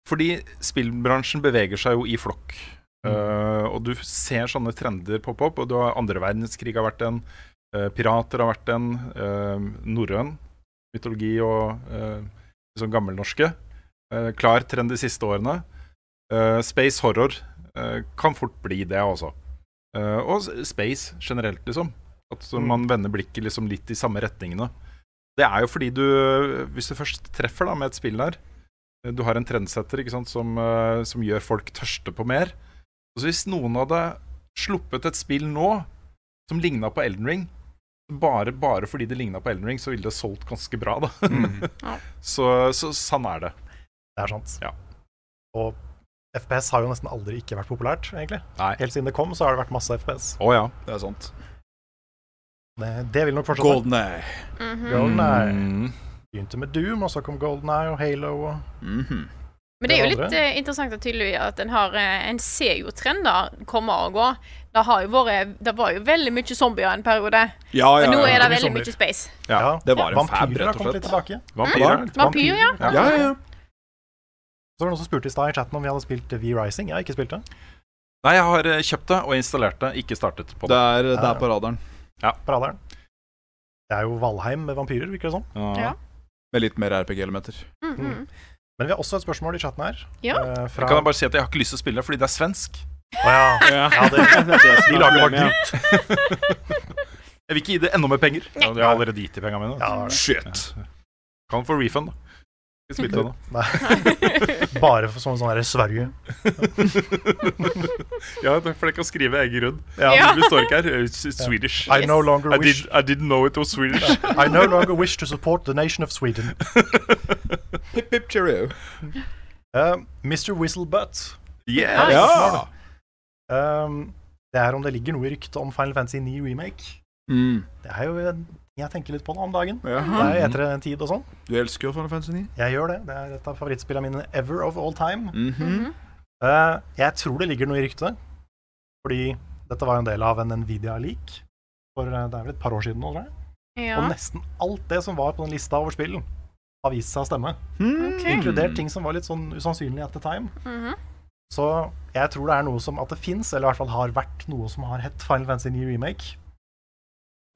fordi spillbransjen beveger seg jo i flokk. Eh, og du ser sånne trender poppe opp. Og du har andre verdenskrig har vært en, eh, pirater har vært en, eh, norrøn mytologi og eh, liksom gammelnorske. Eh, klar trend de siste årene. Eh, space horror eh, kan fort bli det, altså. Eh, og s- space generelt, liksom. At så man vender blikket liksom litt i samme retningene. Det er jo fordi du, eh, hvis du først treffer da med et spill der, Eh, du har en trendsetter ikke sant, som, eh, som gjør folk tørste på mer. Og så Hvis noen hadde sluppet et spill nå som ligna på Elden Ring, bare, bare fordi det ligna på Elden Ring, så ville det solgt ganske bra, da. Ja. så, så sånn er det. Det er sant. Ja. Og FPS har jo nesten aldri ikke vært populært, egentlig. Nei. Helt siden det kom, så har det vært masse FPS. Å ja. Det er sant. Det, Eh, det vil nok fortsette. Golden Eye. Mhm. Golden Eye. Mm. eh, Begynte med Doom, og så kom Golden Eye og Halo og Mhm. Men det er jo Det var litt eh, interessant at tydelig at en har eh, En ser jo trender komme og gå. Det, har jo vært, det var jo veldig mye zombier en periode, Ja, ja, men nå er ja. det mye veldig zombier. mye space. Ja, Det var en fab, Vampyrer rett har og kommet litt slett. tilbake. Vampyrer. Vampyr, ja. Ja. Ja, ja, ja. Så var det noen som spurte i stad i chatten om vi hadde spilt V-Rising. Jeg har ikke spilt det. Nei, jeg har eh, kjøpt det og installert det, ikke startet på Det det. er, det er på radaren. på radaren. Det er jo Valheim med vampyrer, virker det som. Ja. Med litt mer RPG-elementer. Mhm. Men vi har også et spørsmål i chatten her. Ja. eh, fra... Kan jeg bare si at jeg har ikke lyst til å spille det fordi det er svensk? Å ja. Ja, Ja, det- som De lager er bare problemet, ja. dritt. Jeg vil ikke gi det enda mer penger. Ja, Jeg har allerede gitt de pengene mine. Ja, det Shit. Kan få refund, da. Ikke spilt det ennå. er bare for sånn sånn her Sverige. Ja, det- for jeg kan skrive egen grunn. Ja. Ja. Vi står ikke her. It's it's Swedish. I no longer I, wish did, I didn't know it was Swedish. I no longer wish to support the nation of Sweden. Pip, pip, cheerio. Eh, Mr. Whistlebutt. Yeah. Ja. Um, det er om det ligger noe i ryktet om Final Fantasy 9 Remake. Mm. Det er jo en jeg tenker litt på det om dagen. Det ja. er jo etter en tid og sånn. Du elsker jo Final Fantasy 9. Jeg gjør det. Det er et av favorittspillene mine ever of all time. Mhm. Eh, jeg tror det ligger noe i ryktet, fordi dette var jo en del av en Nvidia-leak. For eh, det er vel et par år siden nå, tror jeg. Ja. Og nesten alt det som var på den lista over spill, har vist seg å stemme. Hmm. Ok. Mm. Inkludert ting som var litt sånn usannsynlig at the time. Mhm. Så jeg tror det er noe som at det fins, eller i hvert fall har vært noe som har hett Final Fantasy 9 Remake.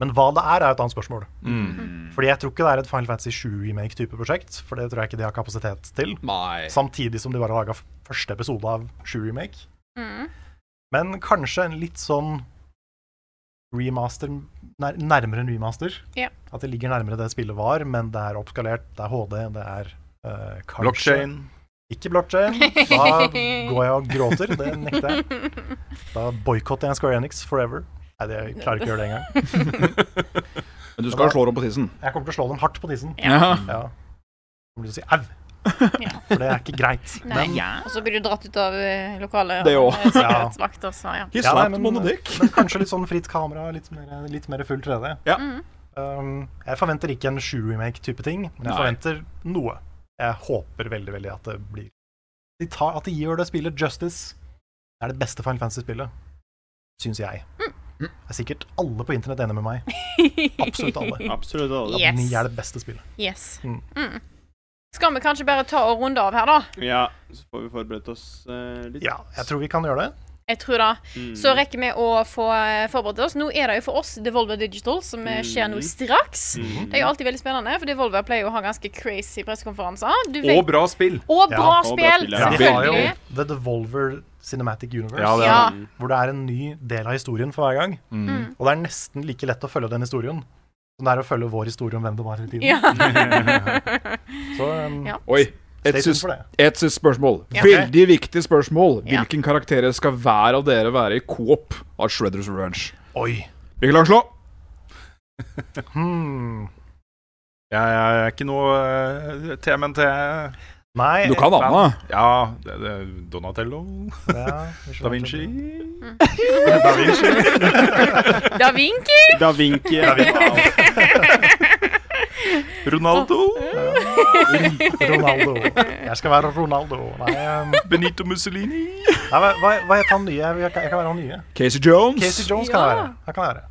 Men hva det er, er et annet spørsmål. Mm. Fordi jeg tror ikke det er et Final Fantasy 7 Remake-type prosjekt, for det tror jeg ikke de har kapasitet til. Nei. Samtidig som de bare laga første episode av 7 Remake. Mhm. Men kanskje en litt sånn remaster nær, Nærmere en remaster. Ja. At det ligger nærmere det spillet var, men det er oppskalert, det er HD, det er eh, kanskje Blockchain. Ikke blockchain. Da går jeg og gråter. Det nekter jeg. Da boikotter jeg Square Enix forever. Nei, det, jeg klarer ikke å gjøre det engang. Men du skal jo slå dem på tissen. Jeg kommer til å slå dem hardt på tissen. Ja. Ja. Jeg kommer til å si au, Ja. for det er ikke greit. Nei. Og så blir du dratt ut av eh, lokalet. Det og, eh, også. Sikkerhetsvakt og så, ja. He Ja, nei, slapped men- him on the dick. Men kanskje litt sånn fritt kamera, litt mer, litt mer full 3D. Ja. Mhm. Um, jeg forventer ikke en 7-remake-type ting, men jeg Nei. forventer noe. Jeg håper veldig, veldig at det blir de tar, At de gjør det spillet justice. Det er det beste Final Fantasy-spillet, syns jeg. Mm. Det er sikkert alle på internett enig med meg. Absolutt alle. Absolutt alle. Yes. Ni er det beste spillet. Yes. Mm. Mm. Skal vi kanskje bare ta og runde av her, da? Ja, så får vi forberedt oss eh, litt. Ja, jeg tror vi kan gjøre det. Jeg tror det. Mm. Så rekker vi å få eh, forberedt oss. Nå er det jo for oss Devolver Digital, som eh, skjer nå Mhm. straks. Mm. Mhm. Det er jo alltid veldig spennende, for Devolver pleier jo å ha ganske crazy pressekonferanser. Du Og vet- bra spill. Og bra spill, Ja. Vi har jo selvfølgelig. The Devolver Cinematic Universe, Ja, det er Ja. det. hvor det er en ny del av historien for hver gang. Mm. Og det er nesten like lett å følge den historien som det er å følge vår historie om hvem det var hele tiden. Ja. Så um, Ja. Oi. Et stay tuned siste for det. et siste spørsmål. Ja. Veldig viktig spørsmål. Hvilken karakter skal hver av dere være i coop av Shredders Revenge? Oi. Mikkel Langslå. Hmm. Jeg er ikke noe eh, TMNT Nei, Du kan fan. Anna. Ja, det, det, Donatello. Ja, da Vinci. Da Vinci. Da Vinci. Da Vinci. Da Ronaldo. Ronaldo. Jeg skal være Ronaldo. Nei, um, Benito Mussolini. Nei, hva, hva, hva heter han nye? Jeg kan, jeg kan være han nye. Casey Jones. Casey Jones kan jeg være. Jeg kan være.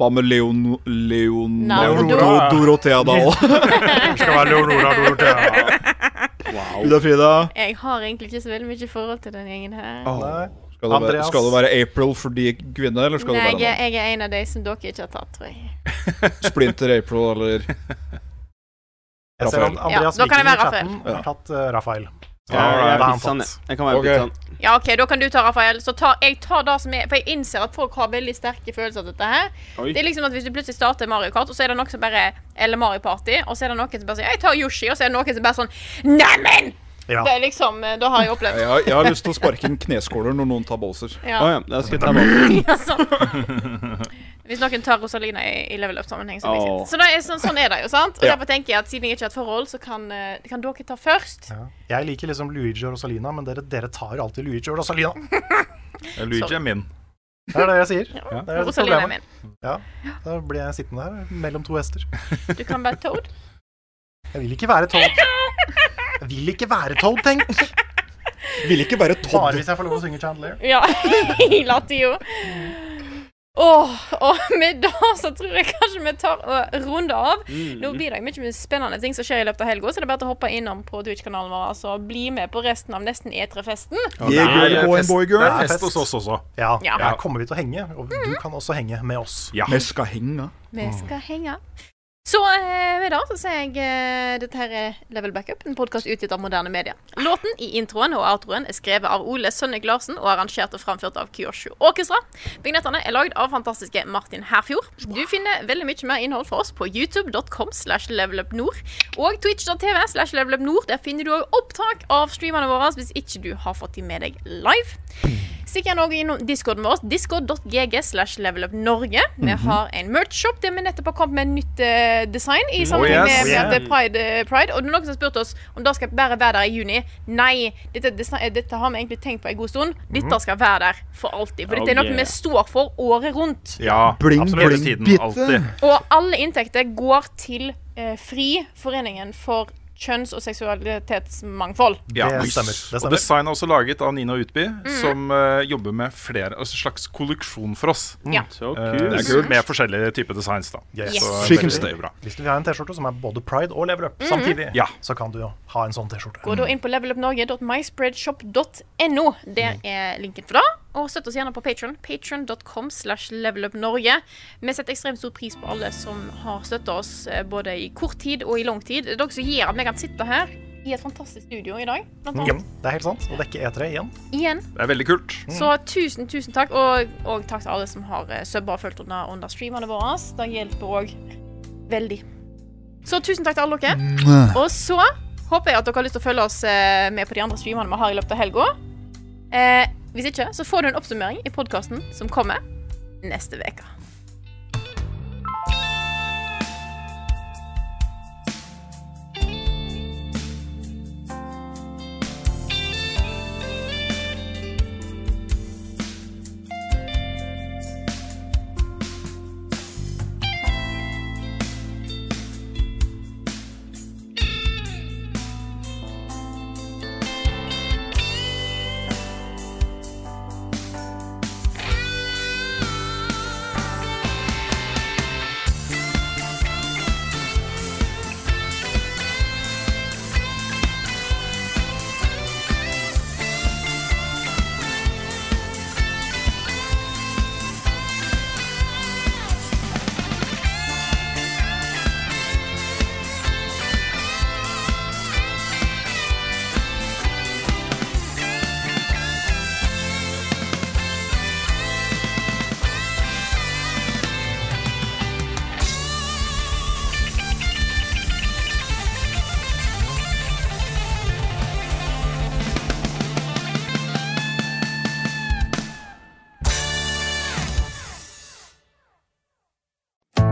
Hva med Leon... Leon... Leonora. Do- Dorothea Dahl. skal være Leonora Dorothea. Ida Frida. Jeg har egentlig ikke så veldig mye forhold til den gjengen her. Åh, Skal det, være, Andreas. skal det være April fordi kvinne, eller skal det Nei, være jeg, er- jeg er en av de som dere ikke har tatt, tror jeg. noe? Splinter April eller Jeg ser Raphael? at Andreas Ja, da kan jeg Viking i være chatten Raphael. har tatt eh, Raphael. Ja, jeg er Da har han pizzaen, tatt. jeg. Jeg kan være sånn, Ok. pizzaen. Ja, OK, da kan du ta, Rafael. Så tar, jeg tar det som er For jeg innser at folk har veldig sterke følelser til dette her. Oi. Det er liksom at Hvis du plutselig starter Mario Kart, og så er det noen som bare Eller Mario Party, og så er det noen som bare sier 'Jeg tar Yoshi', og så er det noen som bare sånn Neimen! Ja. Det er liksom eh, Da har jeg opplevd. Jeg, har- jeg har lyst til å sparke inn kneskåler når noen tar Bowser. Ja. Å ja, da skal jeg ta Ja, Bowser. sånn. Hvis noen tar Rosalina i, i level up-sammenheng, så blir det Åh. sitt. Så det er, sånn, sånn er det jo, sant? Og Ja. derfor tenker jeg at siden jeg ikke har et forhold, så kan, eh, kan dere ta først. Ja. Jeg liker liksom Luigi og Rosalina, men dere, dere tar alltid Luigi og Rosalina. Ja, Luigi Sorry. er min. Det er det jeg sier. Ja. Det er Rosalina er problemet. Ja, da blir jeg sittende her mellom to hester. Du kan være Toad. Jeg vil ikke være Toad. Jeg vil ikke være Toad, tenk! Vil ikke være Todd. Bare hvis jeg får lov å synge Chandler. Ja, i Latio. Åh, og med det så tror jeg kanskje vi tar og runder av. Mm. Nå blir det jo mye spennende ting som skjer i løpet av helga, så det er bare å hoppe innom på Twitch-kanalen vår altså, og bli med på resten av nesten E3-festen. det er girl, boy, fest- boy, girl. Det er fest hos oss også. Ja, Ja. Mhm. her kommer vi til å henge, og du kan også henge med oss. Ja. Vi skal henge. Vi skal henge. Så eh, med det så sier jeg eh, dette her er Level Backup, en podkast utgitt av moderne media. Låten i introen og outroen er skrevet av Ole Sønnik Larsen og arrangert og framført av Kyosho Orkestra. Vignettene er lagd av fantastiske Martin Herfjord. Du finner veldig mye mer innhold for oss på youtube.com slash levelupnord og twitch.tv slash levelupnord. Der finner du òg opptak av streamene våre hvis ikke du har fått de med deg live. Stikk gjerne også innom discorden vår, discord.gg slash levelupnorge. Vi Mhm. har en merch-shop der vi nettopp har kommet med nytt eh, design i Oh, sammenheng yes. med, med at det er Yeah. Pride, eh, Pride. Og det er noen som har spurt oss om det skal bare være der i juni. Nei, dette, desi- eh, dette har vi egentlig tenkt på en god stund. Dette Mhm. skal være der for alltid. For dette er Oh, noe yeah. vi står for året rundt. Ja, Bling, absolutt. bling, Hele tiden, bitte. alltid. Og alle inntekter går til eh, FRI, Foreningen for kjønns- og seksualitetsmangfold. Ja. Det stemmer, det Og stemmer. design er også laget av Nina Utby, Mm. som eh, jobber med flere, altså slags kolleksjon for oss. Mm. Ja. Så Eh, kult. det er kult. Med forskjellige typer designs, da. Yes. Så She can veldig stay. bra. Hvis du vil ha en T-skjorte som er både pride og level up Mhm. samtidig, Ja. så kan du jo ha en sånn T-skjorte. Gå da inn på levelupnorge.myspreadshop.no. Der er linken for det. Og støtt oss gjerne på Patron. Patron.com slash levelupnorge. Vi setter ekstremt stor pris på alle som har støtta oss eh, både i kort tid og i lang tid. Det er dere som gjør at vi kan sitte her i et fantastisk studio i dag. Blant Mm. Ja, annet. det er helt sant. Og dekke E3 igjen. Igjen. Det er veldig kult. Så tusen, tusen takk. Og, og takk til alle som har eh, subba og fulgt under, under streamene våre. Det hjelper òg veldig. Så tusen takk til alle dere. Mwah. Og så håper jeg at dere har lyst til å følge oss eh, med på de andre streamene vi har i løpet av helga. Eh, hvis ikke, så får du en oppsummering i podkasten som kommer neste uke. Thank